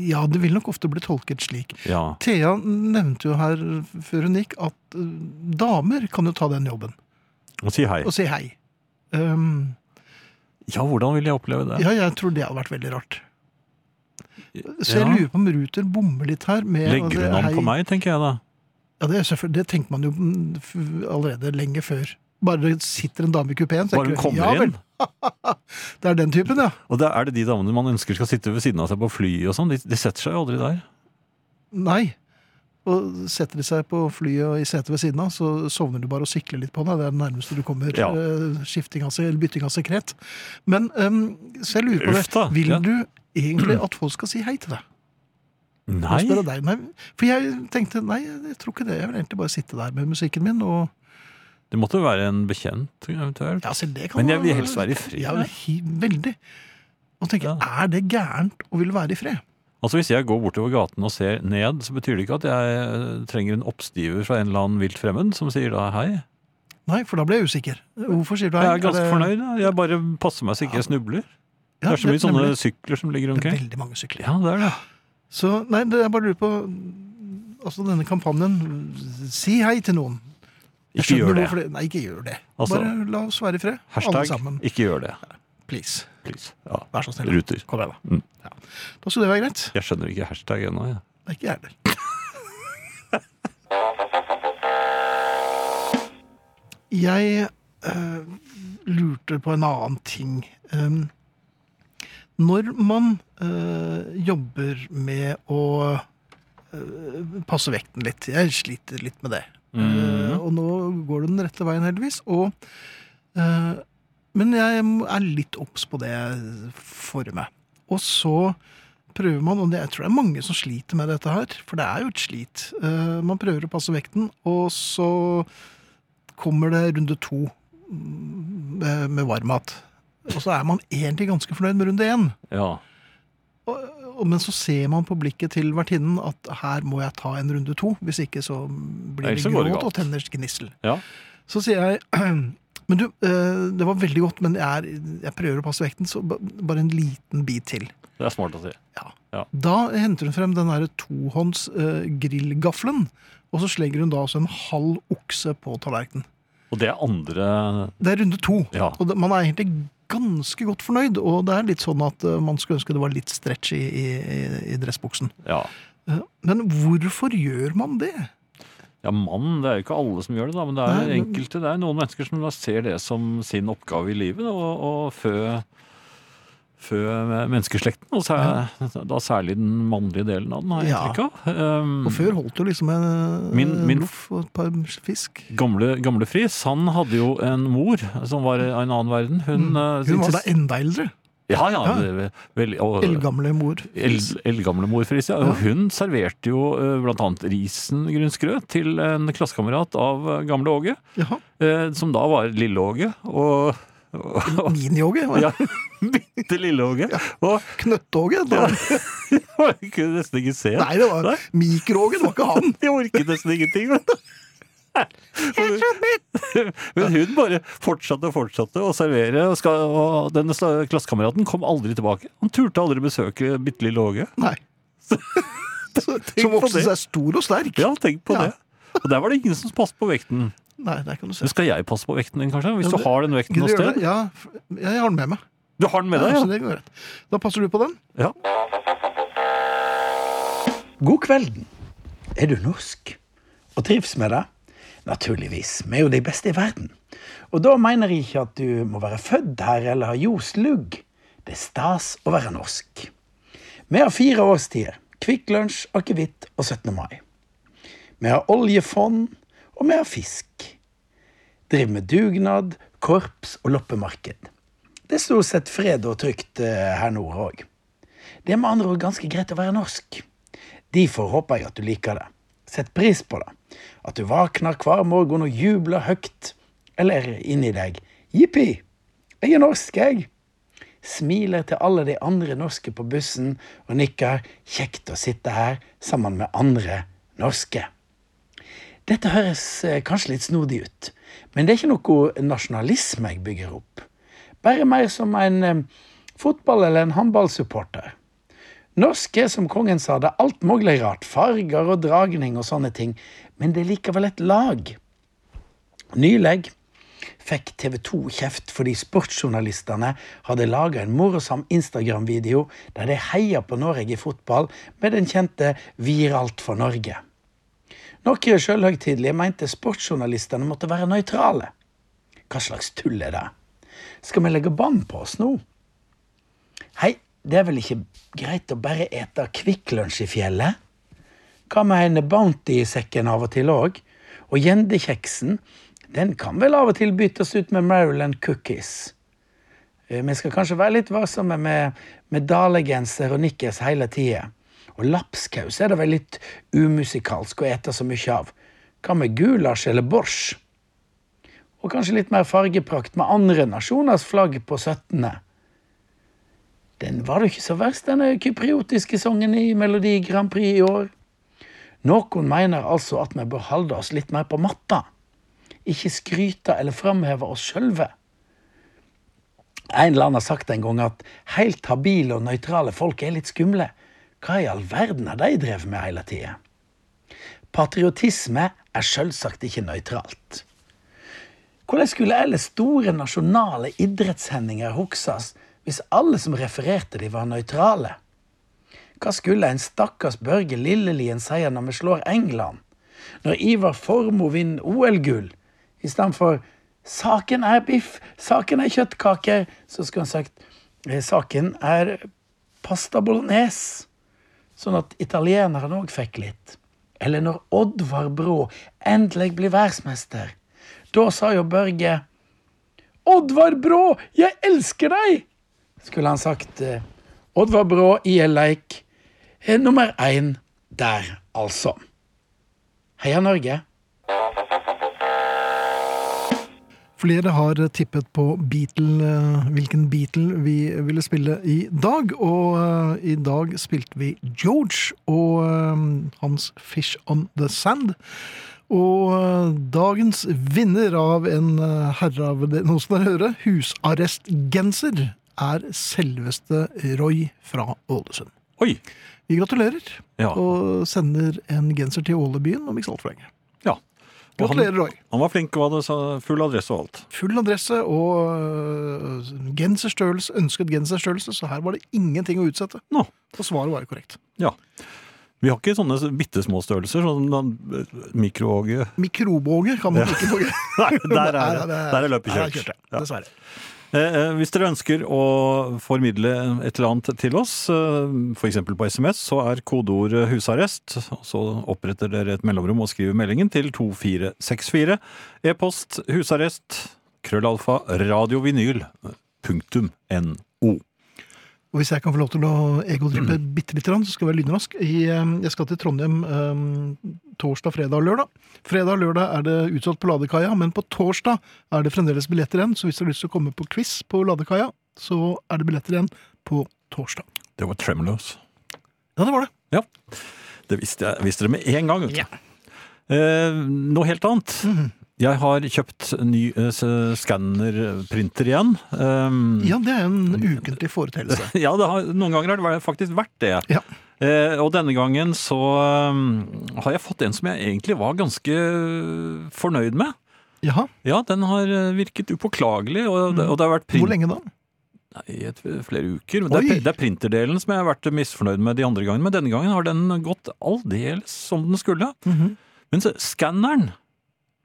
Ja, det vil nok ofte bli tolket slik. Ja. Thea nevnte jo her før hun gikk at eh, damer kan jo ta den jobben Og si hei. og si hei. Ehm, Ja, hvordan vil jeg oppleve det? ja, jeg tror det hadde vært veldig rart. Så jeg Ja. lurer på om Ruter bommer litt her. Med, Legger hun an på meg, tenker jeg da. Ja, det, er selvfølgelig- det tenker man jo mm, f- allerede lenge før. Bare det sitter en dame i kupeen. så Bare tenker hun du, kommer ja, inn. vel, Det er den typen, ja. Og det er det de damene man ønsker skal sitte ved siden av seg på fly og sånn. De, de setter seg jo aldri der. Nei. Og setter de seg på flyet og i setet ved siden av, så sovner du bare og sikler litt på deg. Det er det nærmeste du kommer Ja. eh, skifting av, se- eller bytting av sekret. Men em, så jeg lurer på Uff da, det. Vil ja. du egentlig at folk skal si hei til deg? Nå Nei. spør jeg deg. Nei. For jeg tenkte nei, jeg tror ikke det. Jeg vil egentlig bare sitte der med musikken min og Det måtte jo være en bekjent, eventuelt. Ja, selv det kan Men jeg man- vil helst være i fred. Ja, he- veldig. Og tenker, Ja. er det gærent å ville være i fred? Altså Hvis jeg går bortover gaten og ser ned, så betyr det ikke at jeg eh, trenger en oppstiver fra en eller annen vilt fremmed som sier da hei. Nei, for da ble jeg usikker. Hvorfor sier du Jeg hei? er ganske det- fornøyd. da. Jeg bare passer meg så ikke jeg snubler. Ja, det er så mye sånne nemlig. sykler som ligger Det er omkring. veldig mange sykler. Ja, det er det. Så nei, det, jeg bare lurer på Altså denne kampanjen Si hei til noen. Jeg Ikke skjønner gjør det. hvorfor Nei, ikke gjør det. Altså, bare la oss være i fred, alle Hashtag sammen. 'ikke gjør det'. Please. Please. Ja. Vær så snill. Ruter. Kom igjen, da. Mm. Ja. Da skulle det være greit. Jeg skjønner ikke hashtag ennå. jeg. Det er ikke jeg heller. Jeg eh, lurte på en annen ting. Um, Når man eh, jobber med å eh, passe vekten litt Jeg sliter litt med det. Eh, og nå går det den rette veien, heldigvis. Og, eh, men jeg er litt obs på det jeg får i meg. Og så prøver man, og det, jeg tror det er mange som sliter med dette her, for det er jo et slit. Eh, man prøver å passe vekten, og så kommer det runde to mm, med, med varmmat. Og så er man egentlig ganske fornøyd med runde én. Ja. Og, og, men så ser man på blikket til vertinnen at her må jeg ta en runde to, hvis ikke så blir Nei, det så går det gråt galt. og tenners gnissel. Ja. Så sier jeg Men du, eh, det var veldig godt, men jeg, er, jeg prøver å passe vekten, så ba- bare en liten bit til. Det er smart å si. Da henter hun frem den derre tohånds eh, grillgaffelen, og så slenger hun da også en halv okse på tallerkenen. Og det er andre Det er runde to, Ja. og det, man er egentlig ganske godt fornøyd. Og det er litt sånn at eh, man skulle ønske det var litt stretch i, i, i- i dressbuksen. Ja, Eh, Men hvorfor gjør man det? ja mann. Det er jo ikke alle som gjør det, da, men det er Nei, men- enkelte. Det er noen mennesker som da ser det som sin oppgave i livet, da, å å fø fø menneskeslekten, og sær, da særlig den mannlige delen av den, har jeg Ja. inntrykk av. Um, Og før holdt det jo liksom en eh, Min- min- loff og et par fisk. Gamle, gamle Friis, han hadde jo en mor som var i en annen verden. Hun, eh, Mm. Hun var da insist- enda eldre. Ja, ja. Ja. ve- Vel, og, Eldgamle mor. el- eldgamle mor Friis, ja. Og hun serverte jo eh, blant annet risengrynsgrøt til en klassekamerat av eh, gamle Åge, Jaha. eh, som da var lille Åge. Og, og Miniåge? ja, bitte lille Åge. Og Knøttåge? Det var- jeg kunne nesten ikke se. Nei, det var Nei. mikroåge, det var ikke han! Jeg orket nesten ingenting. Men. Men hun bare fortsatte og fortsatte å servere. Og, skal, og denne sta- klassekameraten kom aldri tilbake. Han turte aldri besøke bitte lille Åge. Nei. Så- Som på vokste det. seg stor og sterk. Ja, tenk på Ja. det. Og der var det ingen som passet på vekten. Nei, der kan du se. Men skal jeg passe på vekten din, kanskje? Hvis Ja, du det- har den vekten Gidder noe du gjøre det? sted? Ja, f- jeg har den med meg. Du har den med Ja, så deg, det går greit. Da passer du på den. ja? ja. God kvelden. Er du norsk? Og trives med det? Naturligvis. Vi er jo de beste i verden. Og da mener jeg ikke at du må være født her eller ha ljos lugg. Det er stas å være norsk. Vi har fire årstider. Kvikk Lunsj, akevitt og 17. mai. Vi har oljefond, og vi har fisk. Driver med dugnad, korps og loppemarked. Det er stort sett fred og trygt eh, her nord òg. Det er med andre ord ganske greit å være norsk. Derfor håper jeg at du liker det. Sett pris på det. At du våkner hver morgen og jubler høyt. Eller inni deg jippi, jeg er norsk, jeg. Smiler til alle de andre norske på bussen og nikker kjekt å sitte her sammen med andre norske. Dette høres eh, kanskje litt snodig ut, men det er ikke noe nasjonalisme jeg bygger opp. Bare mer som en eh, fotball- eller en håndballsupporter. Norske, som kongen sa, det er alt mulig rart. Farger og dragning og sånne ting. Men det er likevel et lag. Nylig fikk TV 2 kjeft fordi sportsjournalistene hadde laga en morosam Instagram-video der de heia på Norge i fotball med den kjente 'Viralt for Norge'. Noen sjølhøytidelige mente sportsjournalistene måtte være nøytrale. Hva slags tull er det? Skal vi legge bånd på oss nå? Hei, det er vel ikke greit å bare ete Kvikk Lunsj i fjellet? Hva med en Bounty i sekken av og til òg? Og gjendekjeksen, den kan vel av og til byttes ut med Maryland cookies. Eh, Vi skal kanskje være litt varsomme med, med dalegenser og nikkers hele tida. Og lapskaus er det vel litt umusikalsk å ete så mye av. Hva med gulasj eller borsj? Og kanskje litt mer fargeprakt med andre nasjoners flagg på 17. Den var da ikke så verst, denne kypriotiske sangen i Melodi Grand Prix i år. Noen mener altså at vi bør holde oss litt mer på matta. Ikke skryte eller framheve oss sjølve. En eller annen har sagt en gang at helt habile og nøytrale folk er litt skumle. Hva i all verden har de drevet med hele tida? Patriotisme er sjølsagt ikke nøytralt. Hvordan skulle ellers store nasjonale idrettshendinger hokses hvis alle som refererte de var nøytrale? Hva skulle en stakkars Børge Lillelien si når vi slår England? Når Ivar Formoe vinner OL-gull? I stedet for 'saken er biff, saken er kjøttkaker', så skulle han sagt Eh, Saken er pasta bolognese, sånn at italienerne òg fikk litt. Eller når Oddvar Brå endelig blir verdensmester. Da sa jo Børge Oddvar Brå, jeg elsker deg! Skulle han sagt. eh, Oddvar Brå i en leik. eh, Nummer én der, altså. Heia Norge. Flere har tippet på Beatle, eh, hvilken Beatle vi ville spille i dag. Og eh, i dag spilte vi George og eh, hans Fish on the Sand. Og eh, dagens vinner av en eh, herre av det noen som dere hører, husarrestgenser, er selveste Roy fra Ålesund. Oi! Vi gratulerer, Ja. og sender en genser til Ålebyen om ikke så altfor lenge. ja. Og han, Gratulerer, Roy. han var flink og hadde sa- full adresse og alt. Full adresse og øh, genserstørrelse, ønsket genserstørrelse, så her var det ingenting å utsette. Nå. Så svaret var jo korrekt. Ja. Vi har ikke sånne bitte små størrelser, sånn da- mikroåge Mikrobåger kan man ikke få. Nei, der er det. Der er løpet der er kjørt. det. Ja. Dessverre. Eh, eh, Hvis dere ønsker å formidle et eller annet til oss, f.eks. på SMS, så er kodeord 'husarrest'. og Så oppretter dere et mellomrom og skriver meldingen til 2464. E-post husarrest krøllalfa radiovinyl punktum no. Og hvis jeg kan få lov til å egodrippe Mm. bitte lite grann, så skal jeg være lynrask. I, øhm, Jeg skal til Trondheim øhm, torsdag, fredag og lørdag. Fredag og lørdag er det utsolgt på Ladekaia, men på torsdag er det fremdeles billetter igjen. Så hvis du har lyst til å komme på quiz på Ladekaia, så er det billetter igjen på torsdag. Det var Tremelos. Ja, det var det. Ja. Det visste, jeg, visste dere med en gang. vet du. Eh, noe helt annet. Mhm. Jeg har kjøpt ny eh, s- skannerprinter igjen. Um, Ja, det er en ukentlig foreteelse. Ja, det har, noen ganger har det vært- faktisk vært det. Ja. Eh, og denne gangen så um, har jeg fått en som jeg egentlig var ganske fornøyd med. Jaha, Ja, den har eh, virket upåklagelig, og, det- og det har vært Mhm. hvor print lenge da? i et, flere uker. Men det, Oi. er, det er printerdelen som jeg har vært misfornøyd med de andre gangene, men denne gangen har den gått aldeles som den skulle. Men så, skanneren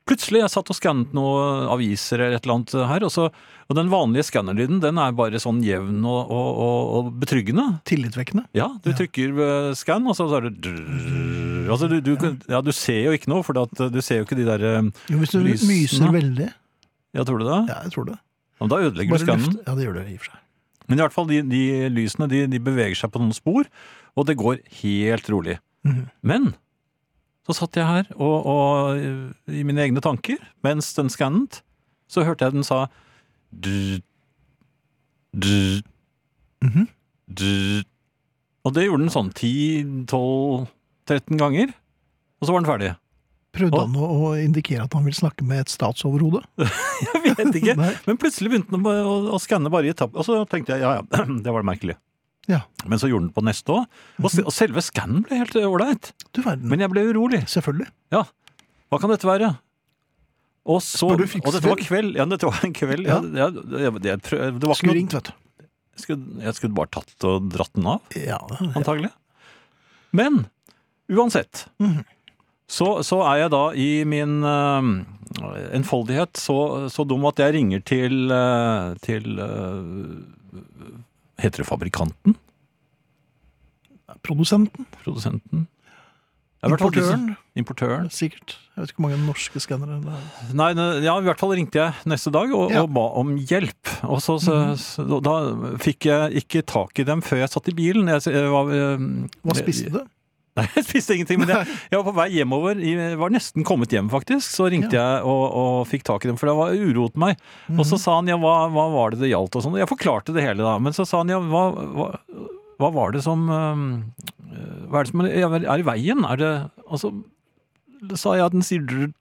Plutselig jeg satt og skannet noen aviser eller et eller annet her, og, så, og den vanlige skannerlyden den er bare sånn jevn og, og, og, og betryggende. Tillitvekkende. Ja, du trykker eh, scan, og så så er det drrrr. altså, du, du, kan- ja, du ser jo ikke noe, for at, eh, du ser jo ikke de der eh, Jo, hvis du Lysene. myser veldig. Ja, tror du det? Ja, jeg tror det. Ja, men da ødelegger du skannen. luft- Ja, det gjør det i og for seg. Men i hvert fall, de, de lysene de, de beveger seg på noen spor, og det går helt rolig. Mhm. Men så satt jeg her og, og eh, i mine egne tanker, mens den skannet, så hørte jeg den sa drrr, drrr, Mhm. drrr. Og det gjorde den sånn 10-12-13 ganger, og så var den ferdig. Prøvde Og- han å å indikere at han vil snakke med et statsoverhode? Jeg vet ikke. Nei. Men plutselig begynte den å, å, å skanne bare i etapp, og så tenkte jeg ja ja, det var merkelig. Ja. Men så gjorde den på neste òg, og, se- og selve skannen ble helt eh, ålreit. Du verden. Men jeg ble urolig. Selvfølgelig. Ja, hva kan dette være? Og så, Bør du og fikse dette var det? kveld. Ja, dette var en kveld. Ja. Ja, det- det- det var ikke Skulle noe, ringt, vet du. jeg, skulle, jeg skulle bare tatt og dratt den av, Ja, det- antagelig. Men uansett, Mhm. så, så er jeg da i min eh, enfoldighet så, så dum at jeg ringer til, eh, til eh, Heter det fabrikanten? Produsenten, Produsenten? Ja, i hvert fall de som- importøren, Importøren. sikkert. Jeg vet ikke hvor mange norske skannere det er. Nei, ne- ja, i hvert fall ringte jeg neste dag og, Ja. Mhm. og ba om hjelp. Og så, så, så, da fikk jeg ikke tak i dem før jeg satt i bilen. Jeg, jeg var, eh, Hva spiste du? Nei, jeg spiste ingenting, men jeg, jeg var på vei hjemover. Jeg var nesten kommet hjem, faktisk. Så ringte jeg og, og fikk tak i dem, for det var uroet meg. Mhm. Og så sa han ja, hva, hva var det det gjaldt og sånn. Jeg forklarte det hele da, men så sa han ja, hva, hva, hva var det som eh, Hva er det som er, er i veien? Er det Og så sa jeg at den sier drr-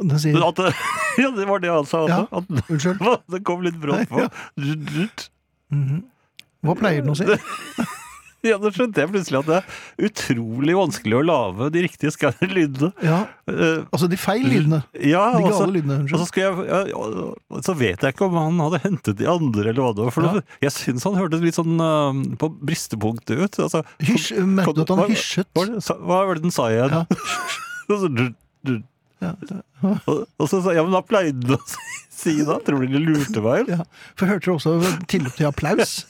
Den sier men at det, ja, det var det han sa. Ja. At, at, Unnskyld. det kom litt brått på. Mhm. Hva pleier den å si? Ja, Da skjønte jeg plutselig at det er utrolig vanskelig å lage de riktige skannerlydene. Ja, Eh, altså de feil lydene. Ja, De altså- og så, gale lydene, og så, unnskyld. skulle jeg, ja, og- og så vet jeg ikke om han hadde hentet de andre, eller hva det var. For Ja. noe. jeg syns han hørtes litt sånn eh, på bristepunktet ut. Altså, Hysj, merket du at han Hva- hysjet? hva, var det- sa- hva var det den sa igjen? Ja. Og så, du, du, Ja, det- Og, og så sa jeg, ja, men da pleide du å si- si da. Tror du de lurte meg? eller? ja. For hørte du også tilløp til applaus?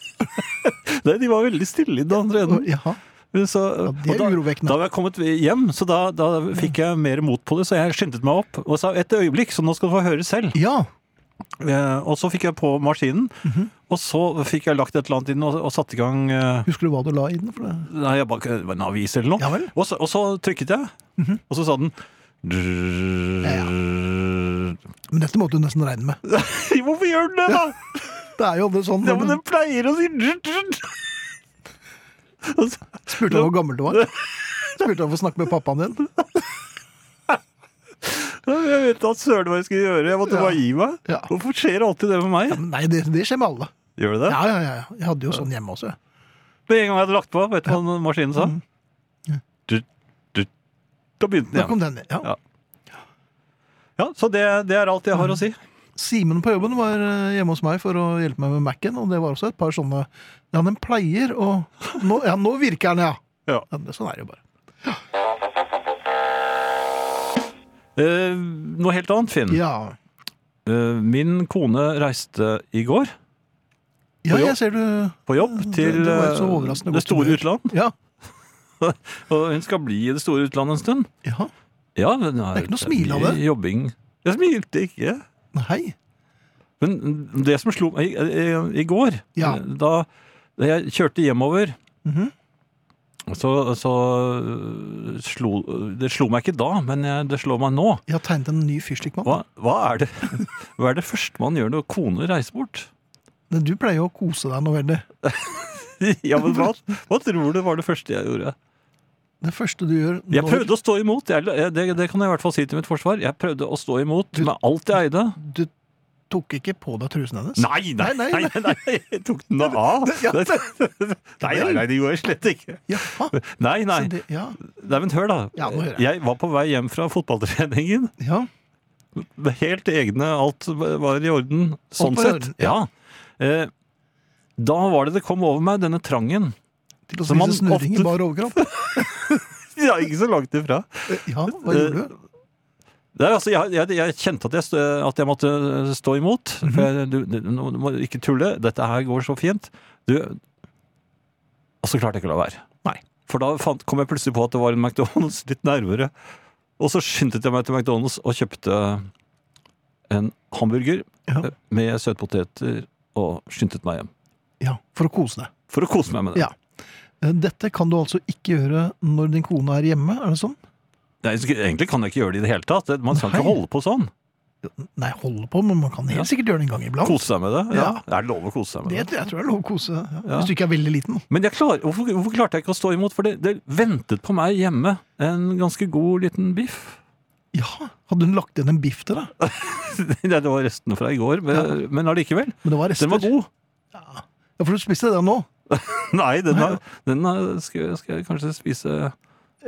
Nei, de var veldig stille i den andre enden. Ja. Men Så, det er og da, urovekkende. Da var jeg kommet hjem, så da, da fikk jeg mer mot på det, så jeg skyndte meg opp og sa et øyeblikk, så nå skal du få høre selv. ja. Eh, og så fikk jeg på maskinen, Mhm. og så fikk jeg lagt et eller annet inn og, og satt i gang eh, Husker du hva du la inn? For det? nei, jeg bare, det var en avis eller noe. Ja vel. Mhm. og, så, og så trykket jeg, og så sa den Men dette måtte du nesten regne med. Hvorfor gjør den det, da? Det er jo aldri sånn. Ja, når du men den pleier å si Og så- Spurte han hvor gammel du var? Spurte han for å snakke med pappaen din? Jeg vet da søren hva jeg skulle gjøre. Jeg måtte Ja. bare gi meg. Ja. Hvorfor skjer alltid det med meg? Nei, det, det skjer med alle. Gjør det det? Ja, ja, ja. ja. Jeg hadde jo sånn hjemme også. jeg. Med en gang jeg hadde lagt på, vet du hva maskinen sa? Mhm. Du, du, da begynte Da den igjen. kom den ned. Ja. Ja. Ja, så det, det er alt jeg Mhm. har å si. Simen på jobben var eh, hjemme hos meg for å hjelpe meg med Mac-en, og det var også et par sånne Ja, den pleier å nå, Ja, nå virker den, ja. Ja. ja det, sånn er det jo bare. Eh, noe helt annet, Finn. Ja. Eh, min kone reiste i går ja, jobb. jeg ser du på jobb til det var jo så eh, overraskende det godt store humør. utland. Ja. Og hun skal bli i det store utland en stund. ja. Ja, men Det er ikke noe smil av det. Jobbing. Jeg smilte ikke. Nei. Men det som slo meg i, i, i går, Ja. da, da jeg kjørte hjemover Mhm. Så, så øh, slo, det slo meg ikke da, men jeg, det slår meg nå. Jeg har tegnet en ny fyrstikkmann. Hva, hva er det Hva er det første man gjør når kone reiser bort? Men Du pleier jo å kose deg noe veldig. Ja, men hva, hva tror du var det første jeg gjorde? Det første du gjør Jeg når prøvde å stå imot. Jeg, jeg- det, det kan jeg i hvert fall si til mitt forsvar. Jeg prøvde å stå imot med alt jeg eide. Du tok ikke på deg trusen hennes? Nei, nei, Nei, nei, nei, nei, jeg tok den da av. Ja. Nei, nei, nei, det gjorde jeg slett ikke. Jaha. Nei, nei. Så det, ja. Nei, men hør da. Ja, nå hører jeg. Jeg var på vei hjem fra fotballtreningen. ja. Helt egne, alt var i orden. Sånn Alt var i sett. orden, Ja. Eh, Da var det det kom over meg, denne trangen. Til å Så man spise snurring ofte- i bar overkropp? Ja, ikke så langt ifra. Ja, hva gjorde du? Det er, altså, jeg, jeg, jeg kjente at jeg, stø, at jeg måtte eh, stå imot. For Mhm. jeg, du, du, nå må du ikke tulle. Dette her går så fint. Du, og så klarte jeg ikke å la være. Nei. For da fant, kom jeg plutselig på at det var en McDonald's litt nærmere. Og så skyndte jeg meg til McDonald's og kjøpte en hamburger Ja. eh, med søtpoteter og skyndte meg hjem. Ja, For å kose deg. For å kose meg med det. Ja. Eh, Dette kan du altså ikke gjøre når din kone er hjemme, er det sånn? Nei, egentlig kan jeg ikke gjøre det i det hele tatt. Man skal ikke Nei. holde på sånn. Nei, holde på, men man kan helt sikkert gjøre det en gang iblant. Kose seg med det. Ja. Ja. Det er lov å kose seg med Det det. tror jeg tror jeg er lov å kose. Ja. Ja. Hvis du ikke er veldig liten. Men jeg klar, hvorfor, hvorfor klarte jeg ikke å stå imot? For det, det ventet på meg hjemme en ganske god liten biff. Ja, Hadde hun lagt igjen en biff til deg? Det var restene fra i går, men, men allikevel. Men det var rester. Den var god. Ja, For du spiste den nå? Nei, den, er, den er, skal, skal jeg kanskje spise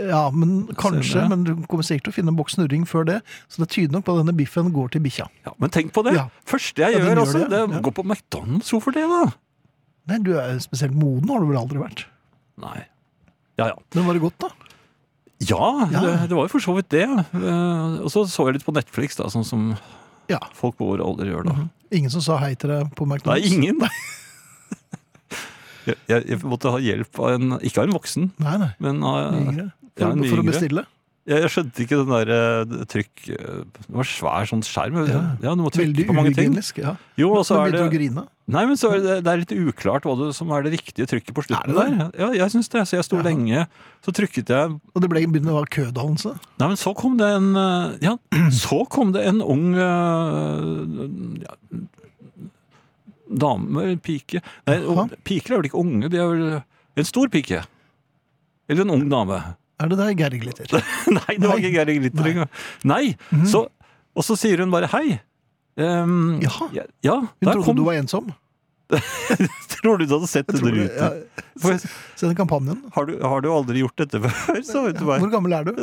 Ja, men kanskje. Senere. Men du kommer sikkert til å finne en boks snurring før det. Så det tyder nok på at denne biffen går til bikkja. ja, Men tenk på det! Ja. Første jeg Ja, den gjør, gjør altså, det, det, ja. er å gå på McDonald's. Hvorfor det, da? Nei, du er spesielt moden, har du vel aldri vært. Nei. Ja, ja. Men var det godt, da? Ja, Ja. Det, det var jo for så vidt det. Eh, Og så så jeg litt på Netflix, da, sånn som Ja. Mhm. folk på vår alder gjør, da. Ingen som sa hei til deg på Nei, McDonald's? ingen. Jeg, jeg, jeg måtte ha hjelp av en Ikke av en voksen, Nei, nei. men av Yngre. For, Ja, en for å yngre. bestille. Jeg, jeg skjønte ikke den der eh, trykk eh, Det var svær sånn skjerm. Ja. du må trykke Veldig på mange ting. uhygienisk. Ja. Jo, og Så så er begynte du å det, grine. nei, men så er det, det er litt uklart hva det, som er det riktige trykket på Er slutten det der. Ja, jeg syns det. Så jeg sto Jaha. lenge, så trykket jeg Og det ble begynte å være kødannelse. Nei, men så kom det en eh, Ja, så kom det en ung eh, ja, Dame, eller pike Nei, Jaha. ung- piker er vel ikke unge, de er vel En stor pike. Eller en ung dame. Er det der Geir Glitter? Nei, det var Nei. ikke Geir Glitter Nei. Mhm. engang. Nei, så, og så sier hun bare hei. Ehm, Jaha. Ja, ja Hun der trodde kom du var ensom. Tror du du hadde sett den Tror du- ruten? ja, For, Se den kampanjen. har, du, har du aldri gjort dette før? sa hun til meg. Hvor gammel er du?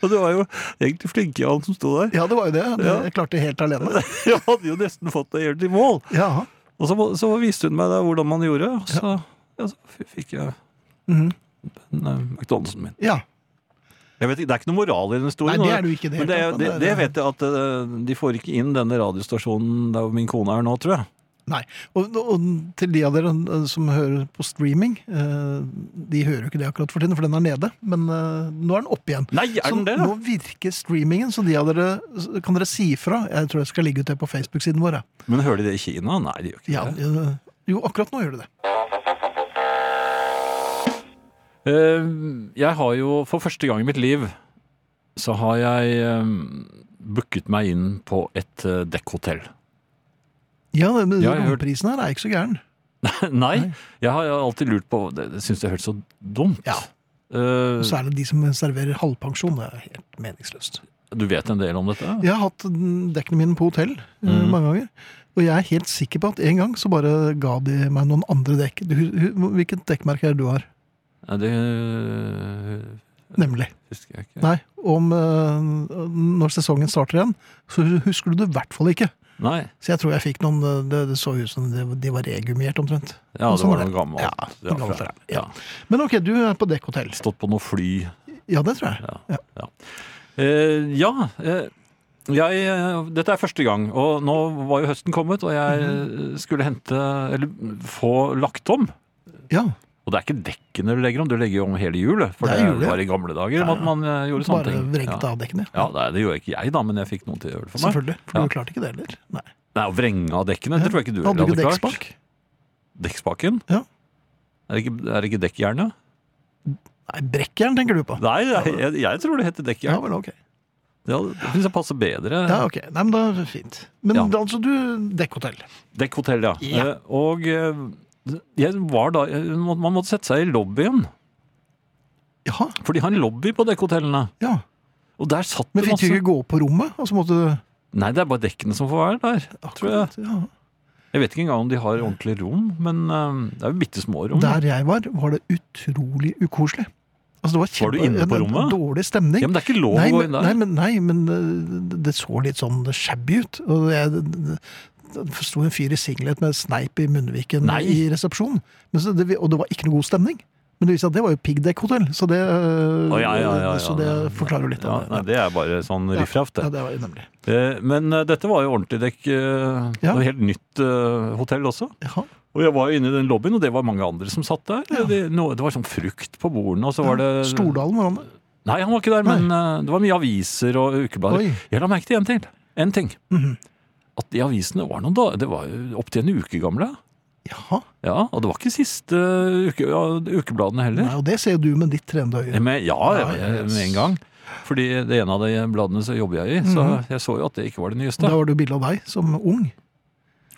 Og du var jo egentlig flinke, han som sto der. Ja, det var jo det. det Ja. jeg klarte det helt alene. Jeg hadde jo nesten fått deg helt i mål. Ja. Og så, må- så viste hun meg da hvordan man gjorde, og så, ja, så f- fikk jeg Mhm. den, eh, McDonald'sen min. ja. Jeg vet ikke, Det er ikke noe moral i den Nei, historien. det og- er du ikke i det Men det, hele tatt, det, det vet jeg at eh, de får ikke inn denne radiostasjonen der hvor min kone er nå, tror jeg. Nei. Og, og til de av dere eh, som hører på streaming, eh, de hører jo ikke det akkurat for tiden, for den er nede. Men eh, nå er den oppe igjen. Nei, er den det? Så nå virker streamingen, så de av dere kan dere si ifra. Jeg tror jeg skal legge ut det på Facebook-siden vår. jeg. Men hører de det i Kina? Nei, de gjør ikke Ja, det. eh, jo, akkurat nå gjør du det. Eh, Jeg har jo for første gang i mitt liv så har jeg eh, booket meg inn på et eh, dekkhotell. Ja, men Ja, jeg har hørt- Prisen her er ikke så gæren. Nei, jeg har alltid lurt på Det det syns jeg hørtes så dumt. Ja. Eh, Og så er det de som serverer halvpensjon. Det er helt meningsløst. du vet en del om dette? Jeg har hatt mm, dekkene mine på hotell eh, mange ganger. Og jeg er helt sikker på at en gang så bare ga de meg noen andre dekk. Du, hu- hvilket dekkmerke er det du har? Nei, Det eh, Nemlig. husker jeg ikke. Nei, om eh, når sesongen starter igjen, så husker du det i hvert fall ikke. Nei. Så jeg tror jeg fikk noen eh, Det, det så ut som de, de var regummert omtrent. Ja, Og det sånn var er noe gammelt. Ja, noe fra- gammelt, ja. ja. Men ok, du er på dekkhotell. Stått på noe fly. Ja, det tror jeg. Ja. ja. Eh, ja eh, jeg, eh, dette er første gang, og nå var jo høsten kommet, og jeg Mhm. eh, skulle hente, eller få lagt om. Ja, Og det er ikke dekkene du legger om, du legger jo om hele hjulet. For Det det, er hjulet, ja. var i gamle dager at man eh, gjorde sånne Bare ting. vrengt av dekkene. Ja, ja det, det gjorde ikke jeg da, men jeg fikk noen til å gjøre det for meg. Selvfølgelig, for Ja. du klarte ikke det heller. Nei. Nei, å vrenge av dekkene, det tror jeg ikke du Hadde du ikke klart. dekkspak? Dekkspaken? Ja. Er det ikke, er det ikke dekkjernet? Nei, brekkjern tenker du på. Nei, jeg, jeg, jeg tror det heter Ja dekkjern. vel, ok. Det, hadde- det syns jeg passer bedre. Ja, ok. Nei, men da er det fint. Men Ja. da, altså, du dekkhotell. Dekkhotell, ja. Ja. Eh, Og eh, jeg var da, eh, må- man måtte sette seg i lobbyen, Jaha, for de har en lobby på dekkhotellene. ja. Og der satt det Men fikk du masse ikke gå på rommet? Og så måtte du Nei, det er bare dekkene som får være der. Tror jeg. Akkurat, ja. Jeg vet ikke engang om de har ordentlige rom, men eh, det er jo bitte små rom. Der jeg var, var det utrolig ukoselig. Altså, det var, Var du kjempe- inne på en- en rommet? Dårlig stemning. Ja, men det er ikke lov nei, å gå men, inn nei, der. men, nei, men øh, det- det så litt sånn shabby ut. Og jeg, det- det- det sto en fyr i singlet med sneip i munnviken Nei. i resepsjonen. Men så det, og det var ikke noe god stemning. Men det viste seg at det var jo piggdekkhotell, så, det, øh, Å, ja, ja, ja, ja, så det nei, forklarer jo litt Ja, av det. nei, det er bare sånn riffraff, det. Ja, det var det nemlig. Eh, Men eh, dette var jo ordentlig dekk. eh, Ja. Og helt nytt eh, hotell også. Jaha. Og jeg var jo inne i den lobbyen, og det var mange andre som satt der. Det, no, det var sånn frukt på bordene, og så var det Stordalen var han der. Nei, han var ikke der, men eh, det var mye aviser og ukeblader. Oi. Mhm. Jeg la merke til én ting. En ting. At de avisene var noen da, det var jo opptil en uke gamle. Jaha. Ja, Og det var ikke siste eh, uke, ja, ukebladene heller. Nei, og det ser jo du med ditt trenende øye. Men, ja, Ja, jeg- ja, med en gang. Fordi det ene av de bladene så jobber jeg i, så Mhm. jeg så jo at det ikke var det nyeste. Da var det jo bilde av deg som ung.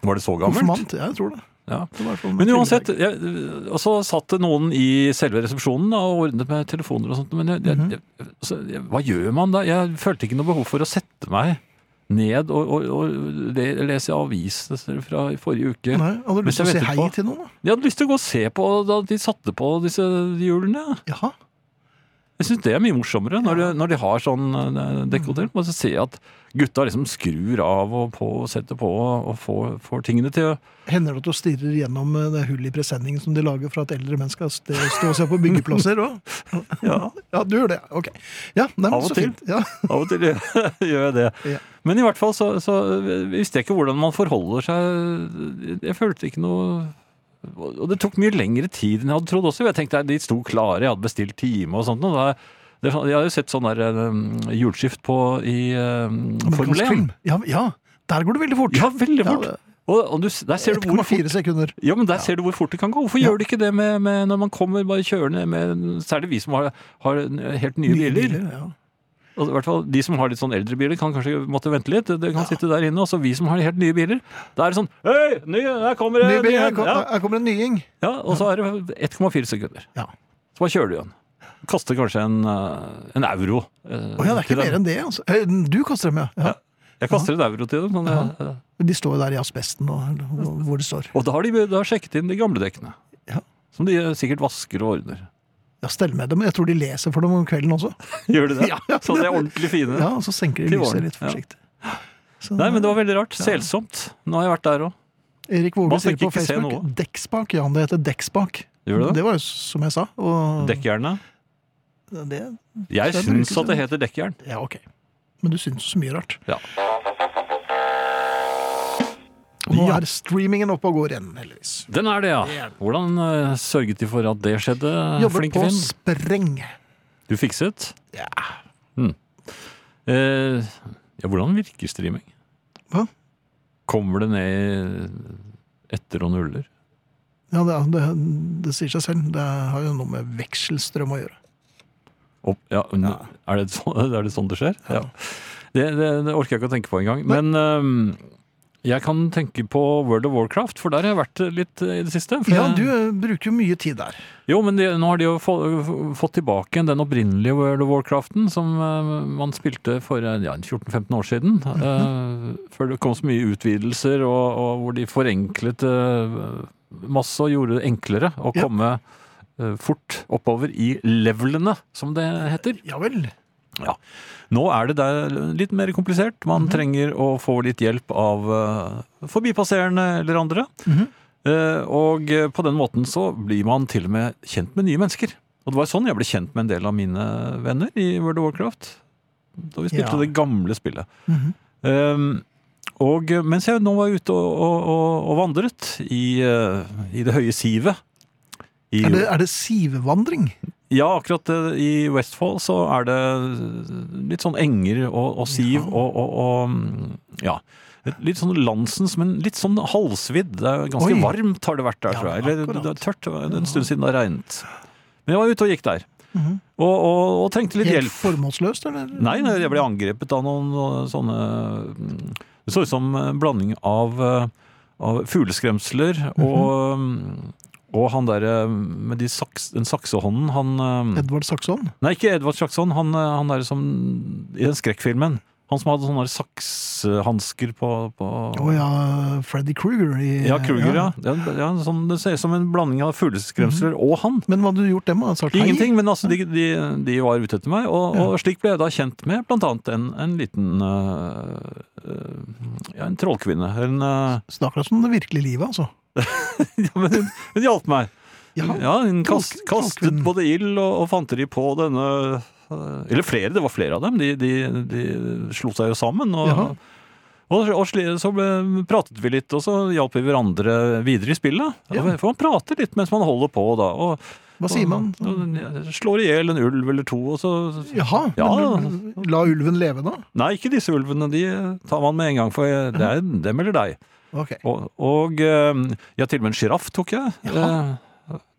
Var det så gammelt? Konfirmant. Ja, jeg tror det. Ja. det var i hvert fall en Men kul uansett, dag. jeg, og så satt det noen i selve resepsjonen da, og ordnet med telefoner og sånt, men jeg, jeg, jeg, altså, jeg, hva gjør man da? Jeg følte ikke noe behov for å sette meg ned og, og, og le- lese aviser fra i forrige uke. Nei, hadde du lyst Hvis til å si jeg vet hei etterpå. til noen, da? Jeg hadde lyst til å gå og se på da de satte på disse hjulene. Jaha. Jeg synes det er mye morsommere når, de, når de har sånn eh, dekkhotell. Man ser se at gutta liksom skrur av og på og setter på og får, får tingene til å Hender det at du stirrer gjennom eh, det hullet i presenningen som de lager for at eldre menn skal st- stå og se på byggeplasser? Og? Ja. Ja, du gjør det. Ok. Ja, nei, men Av og så til. fint. Ja. Av og til gjør jeg det. Ja. Men i hvert fall så, så visste jeg ikke hvordan man forholder seg Jeg følte ikke noe Og det tok mye lengre tid enn jeg hadde trodd også. Jeg tenkte de sto klare, jeg hadde bestilt time og sånt. Og da, det, jeg har jo sett sånn der um, hjulskift på i um, Amerikansk Formel 1. film. Ja, ja, der går det veldig fort. Ja, veldig fort. Ja, det- og, og du, der ser du hvor fort 1,4 sekunder. ja, men der ser du hvor fort det kan gå. Hvorfor Ja. gjør de ikke det med, med når man kommer bare kjørende med Særlig vi som har, har helt nye, biler. ja. Altså, i hvert fall De som har litt sånn eldre biler, kan kanskje måtte vente litt. Det kan sitte der inne, også vi som har helt nye biler. Da er det sånn Hei, ny, her kommer det Ny bil, ny her en!» kom- ja. her kommer en nying. ja, Og så er det 1,4 sekunder. Ja. Så bare kjører du igjen. Koster kanskje en, eh, en euro. eh, Å ja, det er til ikke dem. mer enn det, altså. Eh, Du kaster dem, ja. ja. Jeg kaster en euro til dem. Men, eh, De står jo der i asbesten og og- hvor det står. Og da har de da har sjekket inn de gamle dekkene. Ja. Som de eh, sikkert vasker og ordner. Ja, stell med dem. Jeg tror de leser for dem om kvelden også. Gjør de det? Ja. Så de er ordentlig fine. Ja, og så senker de Til lyset våren, litt ja. forsiktig. Så- Nei, men det var veldig rart. Selsomt. Nå har jeg vært der òg. Erik Våge Man sier fikk på ikke se Facebook noe. dekkspak. Ja, det heter dekkspak. Gjorde det? var jo som jeg sa. Og Dekkjernet. Det, Jeg Det syns brukes at det heter dekkjern. ja, ok. Men du syns så mye rart. Ja. Og nå Ja. er streamingen oppe og går igjen, heldigvis. Den er det, ja. Hvordan eh, sørget de for at det skjedde, eh, Jobber flinke på Finn? spreng. Du fikset? Ja. Mm. Eh, ja, hvordan virker streaming? Hva? Kommer det ned etter og nuller? Ja, det, det, det sier seg selv. Det har jo noe med vekselstrøm å gjøre. Opp, ja, n- Er, det sånn, er det sånn det skjer? Ja. Det, det, det orker jeg ikke å tenke på engang. Nei. Men ehm, jeg kan tenke på World of Warcraft, for der har jeg vært litt eh, i det siste. For Ja, jeg- du eh, bruker jo mye tid der. Jo, men de, nå har de jo få, fått tilbake igjen den opprinnelige World of Warcraften som eh, man spilte for eh, ja, 14-15 år siden. eh, før det kom så mye utvidelser, og, og hvor de forenklet eh, masse og gjorde det enklere å Ja. komme eh, fort oppover i levelene, som det heter. Ja vel. Nå er det der litt mer komplisert. Man trenger å få litt hjelp av eh, forbipasserende eller andre. Mhm. Eh, og eh, på den måten så blir man til og med kjent med nye mennesker. Og det var sånn jeg ble kjent med en del av mine venner i World of Warcraft. Da vi spilte Ja. det gamle spillet. Mhm. Ehm, og eh, mens jeg nå var ute og, og, og, og vandret i, eh, i det høye sivet i- Er det, er det sivvandring? ja, akkurat eh, i Westfold så er det litt sånn enger og, og Ja. siv og, og, og mm, ja. Et Litt sånn landsens, men litt sånn halvsvidd. Det er ganske Oi. varmt har det vært der, Ja, tror jeg. Eller akkurat. det er tørt. Det er En stund siden det har regnet. Men jeg var ute og gikk der. Mhm. Og, og, og trengte litt Helt hjelp. formålsløst, eller? Nei, nei, jeg ble angrepet av noen eh, sånne mm, Det så ut som en blanding av, eh, av fugleskremsler Mhm. og, mm, og han derre med de saks, den saksehånden han eh, Edvard Saxon? Nei, ikke Edvard Sjakson. Han, eh, han er som i den skrekkfilmen. Han som hadde sånne saksehansker på, på Å ja, Freddy Kruger. i- Ja, Kruger, ja. ja. ja sånn, det ser ut som en blanding av fugleskremsler og han. Men hva hadde du gjort dem, da? Sagt Mhm. hei? Ingenting, men altså, de, de, de var ute etter meg, og, Ja. og slik ble jeg da kjent med blant annet en, en liten eh, eh, Ja, en trollkvinne. En, eh, Snakker altså om det virkelige livet, altså. ja, men hun, hun hjalp meg. Ja. Ja, hun kast, Trollk- kastet trollkvinnen. både ild og, og fanteri på denne eh, Eller flere, det var flere av dem. De, de, de slo seg jo sammen. Og, Jaha. og, og sli- så ble, pratet vi litt, og så hjalp vi hverandre videre i spillet. Ja. For man prater litt mens man holder på, da. Og, Hva sier man? Og, og, slår i hjel en ulv eller to, og så Jaha, Ja. men la ulven leve, da? Nei, ikke disse ulvene. De tar man med en gang, for det er dem eller deg. Ok. Og, og eh, ja, til og med en sjiraff tok jeg. Jaha. Eh,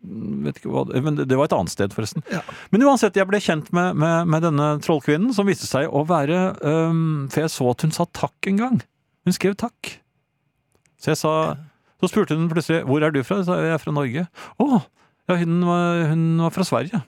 Vet ikke hva, det- men det det var et annet sted, forresten. Ja. Men uansett, jeg ble kjent med, med, med denne trollkvinnen, som viste seg å være eh, For jeg så at hun sa takk en gang. Hun skrev takk. Så jeg sa Så spurte hun plutselig hvor er du fra. Jeg sa jeg er fra Norge. Å, ja, hun var, hun var fra Sverige.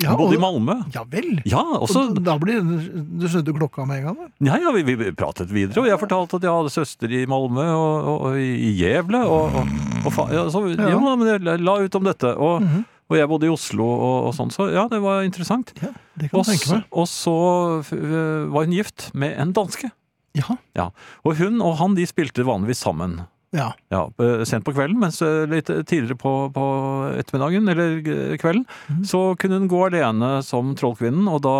Ja, Hun bodde i og, Malmö. ja vel. Ja, også Og da blir Du snudde klokka med en gang, da? Ja, ja, vi, vi pratet videre, og jeg fortalte at jeg hadde søster i Malmö og, og, og i Gävle. Og, og, og fa ja, så, Ja. ja. men jeg la- la ut om dette. Og, Mhm. og jeg bodde i Oslo og, og sånn, så ja, det var interessant. Ja, det kan Og, du tenke så- meg. og så øh, var hun gift med en danske. Ja. Og hun og han de spilte vanligvis sammen. ja. Ja, øh, Sent på kvelden, mens øh, litt tidligere på, på ettermiddagen eller øh, kvelden, Mhm. så kunne hun gå alene som trollkvinnen, og da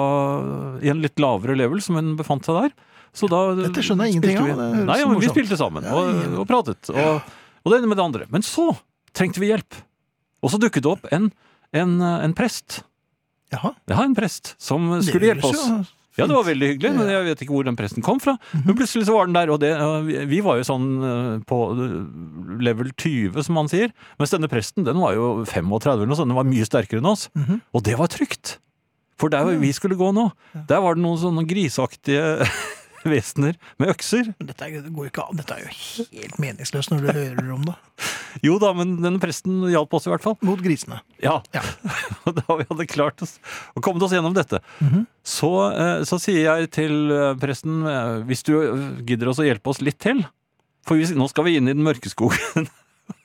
øh, i en litt lavere level som hun befant seg der. Så da Dette skjønner jeg ingenting spilte av. vi- Det høres Nei, ja, men vi morsomt. spilte sammen Ja, og, ja. og pratet. Og, og det ene med det andre. Men så trengte vi hjelp. Og så dukket det opp en, en, eh, en prest. Jaha. Ja, en prest som skulle Det høres hjelpe oss. jo Ja, det var veldig hyggelig, men Ja. jeg vet ikke hvor den presten kom fra. Men plutselig så var den der, og det, øh, vi- vi var jo sånn øh, på øh, level 20, som man sier. Mens denne presten, den var jo 35 eller noe sånt, den var mye sterkere enn oss. Mhm. Og det var trygt! For der hvor vi skulle gå nå, der var det noen sånne griseaktige vesener med økser. Men Dette er- det går jo ikke an. Dette er jo helt meningsløst når du hører om det. Jo da, men denne presten hjalp oss i hvert fall. Mot grisene. Ja. Ja. Og da vi hadde klart oss og kommet oss gjennom dette, så, eh, så sier jeg til eh, presten eh, hvis du eh, gidder oss å hjelpe oss litt til, for vi, nå skal vi inn i den mørke skogen.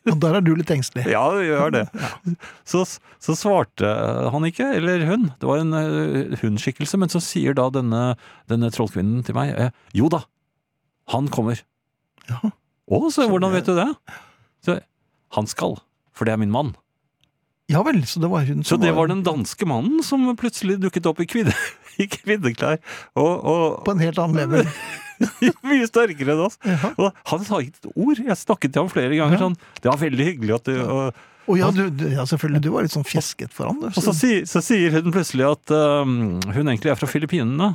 Og der er du litt engstelig. ja, vi gjør det. Så, så svarte han ikke, eller hun. Det var en eh, hun-skikkelse, men så sier da denne, denne trollkvinnen til meg eh, jo da, han kommer. Ja. Å, så Så hvordan det- vet du det? Så, han skal, for det er min mann. Ja vel, så det var hun Så som det var den danske mannen som plutselig dukket opp i, kvinne, i kvinneklær. Og, på en helt annen level. og mye sterkere enn oss. Ja. Og han sa ikke et ord. Jeg snakket til ham flere ganger sånn Det var veldig hyggelig at du og, Og ja, du, du, ja, selvfølgelig, du var litt sånn fjesket foran. Du, og så, si, så sier hun plutselig at øhm, hun egentlig er fra Filippinene.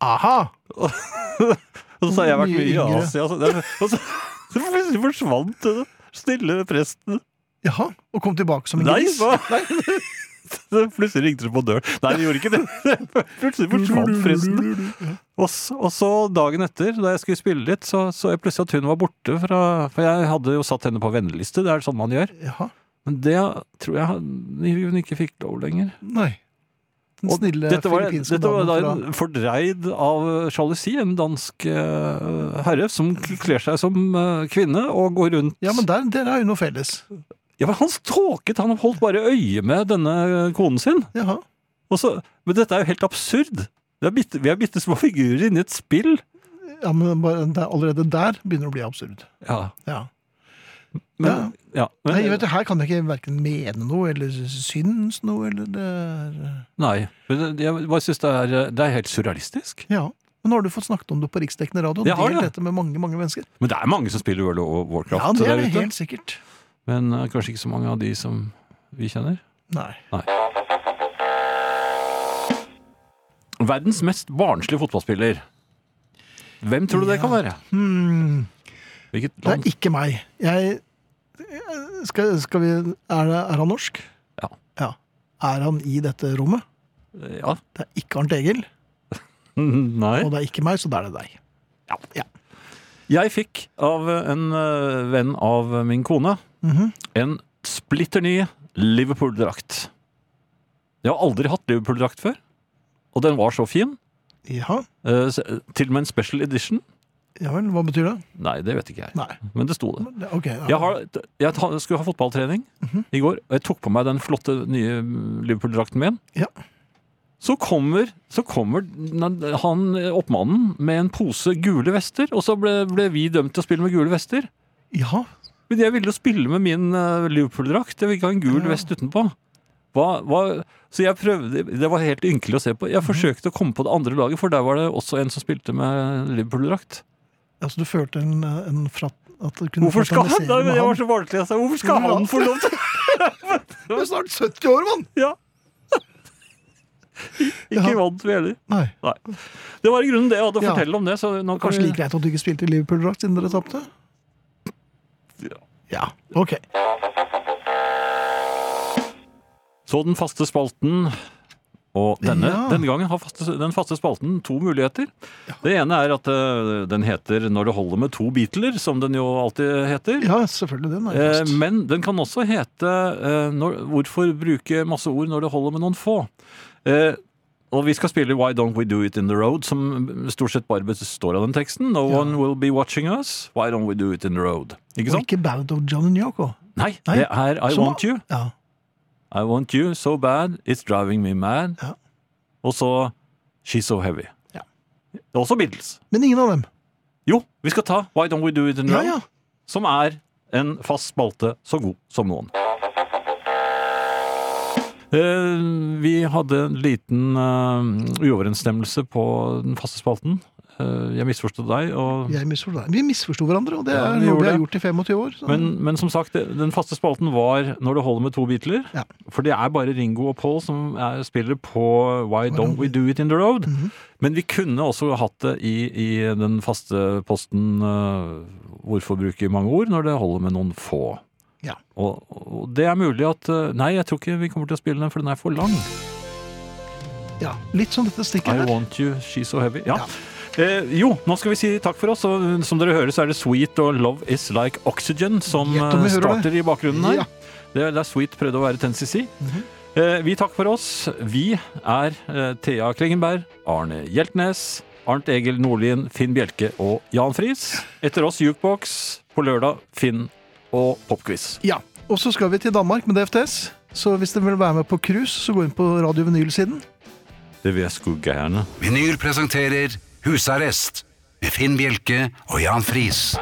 aha! Og så har jeg vært Mye mye i yngre. Asia. Og så, og så, så plutselig forsvant den snille presten. Jaha, og kom tilbake som en Nei, gris. hva? Så Plutselig ringte det på døren. Nei, det gjorde ikke det. Plutselig forsvant presten. Og, s- og så dagen etter, da jeg skulle spille litt, så, så jeg plutselig at hun var borte fra For jeg hadde jo satt henne på venneliste, det er sånn man gjør. Jaha, Men det tror jeg han- hun ikke fikk lov lenger. nei. Den Og snille dette var, filippinske dette var da damen fra en fordreid av sjalusi, en dansk eh, herre som k- kler seg som eh, kvinne og går rundt Ja, men der, dere har jo noe felles. Ja, men han ståket! Han holdt bare øye med denne konen sin. Jaha. Og så, men dette er jo helt absurd. Det er bitte, vi er bitte små figurer inni et spill. Ja, men bare, det er allerede der begynner det å bli absurd. Ja, Ja. men, ja. men, Nei, vet du, her kan jeg ikke hverken mene noe, eller synes noe, eller det er nei. Men jeg bare syns det, er- det er helt surrealistisk. Ja. Men nå har du fått snakket om det på riksdekkende radio, Jeg har og delt det. dette med mange, mange mennesker. Men det er mange som spiller World of Warcraft Ja, det er der det ute. helt sikkert. Men eh, kanskje ikke så mange av de som vi kjenner. Nei. Verdens mest barnslige fotballspiller. Hvem tror du det kan være? Hmm. Hvilket Det land? er ikke meg. Jeg skal, skal vi er, det- er han norsk? Ja. Er han i dette rommet? Ja. Det er ikke Arnt Egil, Nei. og det er ikke meg, så da er det deg. Jeg fikk av en eh, venn av min kone Mhm. en splitter ny Liverpool-drakt. Jeg har aldri hatt Liverpool-drakt før, og den var så fin. Ja, Eh, s- Til og med en special edition. ja vel, hva betyr det? Nei, det vet ikke jeg, Nei. men det sto det. men det- Ok. Ja. Jeg, har, jeg ta- skulle ha fotballtrening i går, og jeg tok på meg den flotte nye Liverpool-drakten min. Ja. Så kommer, så kommer den- han eh, oppmannen med en pose gule vester, og så ble, ble vi dømt til å spille med gule vester. ja. Men jeg ville jo spille med min eh, Liverpool-drakt. Jeg ville ikke ha en gul Ja. vest utenpå. Hva, hva, så jeg prøvde Det var helt ynkelig å se på. Jeg forsøkte å komme på det andre laget, for der var det også en som spilte med Liverpool-drakt. Altså, du følte en, en fratt... At du kunne Hvorfor skal han fraternisere med Jeg var så barnslig, jeg sa. Hvorfor skal han få lov til Du er snart 70 år, mann! Ja. Ikke Ja. vant vi heller. Nei. Nei. Det var i grunnen det jeg hadde å Ja. fortelle om det. Så nå kan Kanskje vi- like greit at du ikke spilte i Liverpool-drakt siden dere tapte? Ja. Ja. Ok. Så den faste spalten. Og denne, Ja. denne gangen har faste, den faste spalten to muligheter. Det ene er at eh, den heter 'Når det holder med to Beatler', som den jo alltid heter. Ja, selvfølgelig. Den er jo Eh, fast. Men den kan også hete eh, når, 'Hvorfor bruke masse ord når det holder med noen få'? Eh, Og vi skal spille 'Why Don't We Do It In The Road', som stort sett bare består av den teksten. 'No one will be watching us. Why don't we do it in the road?' Ikke Og sant? ikke Ballad of John and Yoko. Nei, Nei. det er 'I Som- Want You'. Ja. I want you so bad, it's driving me mad. Ja. Og så She's so heavy. Ja. Det er også Beatles. Men ingen av dem. Jo, vi skal ta Why Don't We Do It In The Ja, Round, ja. som er en fast spalte så god som noen. Eh, Vi hadde en liten eh, uoverensstemmelse på den faste spalten. Eh, jeg misforstod deg, og, Jeg misforsto deg. Vi misforsto hverandre, og det Ja, er vi noe gjorde vi har det. gjort i 25 år. Så. men, men som sagt, det- den faste spalten var Når det holder med to Beatler. Ja. For det er bare Ringo og Paul som er, spiller på Why Don't We Mhm. Do It In The Road. Men vi kunne også hatt det i, i den faste posten eh, Hvorfor bruke mange ord når det holder med noen få. Ja. Og, og det er mulig at eh, Nei, jeg tror ikke vi kommer til å spille den, for den er for lang. ja, litt som dette stikket I her. want you, she's so heavy. Ja. Eh, jo, nå skal vi si takk for oss. Og eh, som dere hører, så er det Sweet og Love Is Like Oxygen som Gjett om eh, vi hører starter i bakgrunnen her. Ja. Mhm. Det, er- det er Sweet prøvde å være Tennessee. eh, vi takker for oss. Vi er eh, Thea Klingenberg, Arne Hjeltnes, Arnt Egil Nordlien, Finn Bjelke og Jan Friis. Etter oss Jukebox. På lørdag Finn og Popquiz. Ja. Og så skal vi til Danmark med DFTS. Så hvis dere vil være med på cruise, så gå inn på Radio Vinyl-siden. Det vil jeg skulle gjerne. Vinyl presenterer Husarrest med Finn Bjelke og Jan Friis.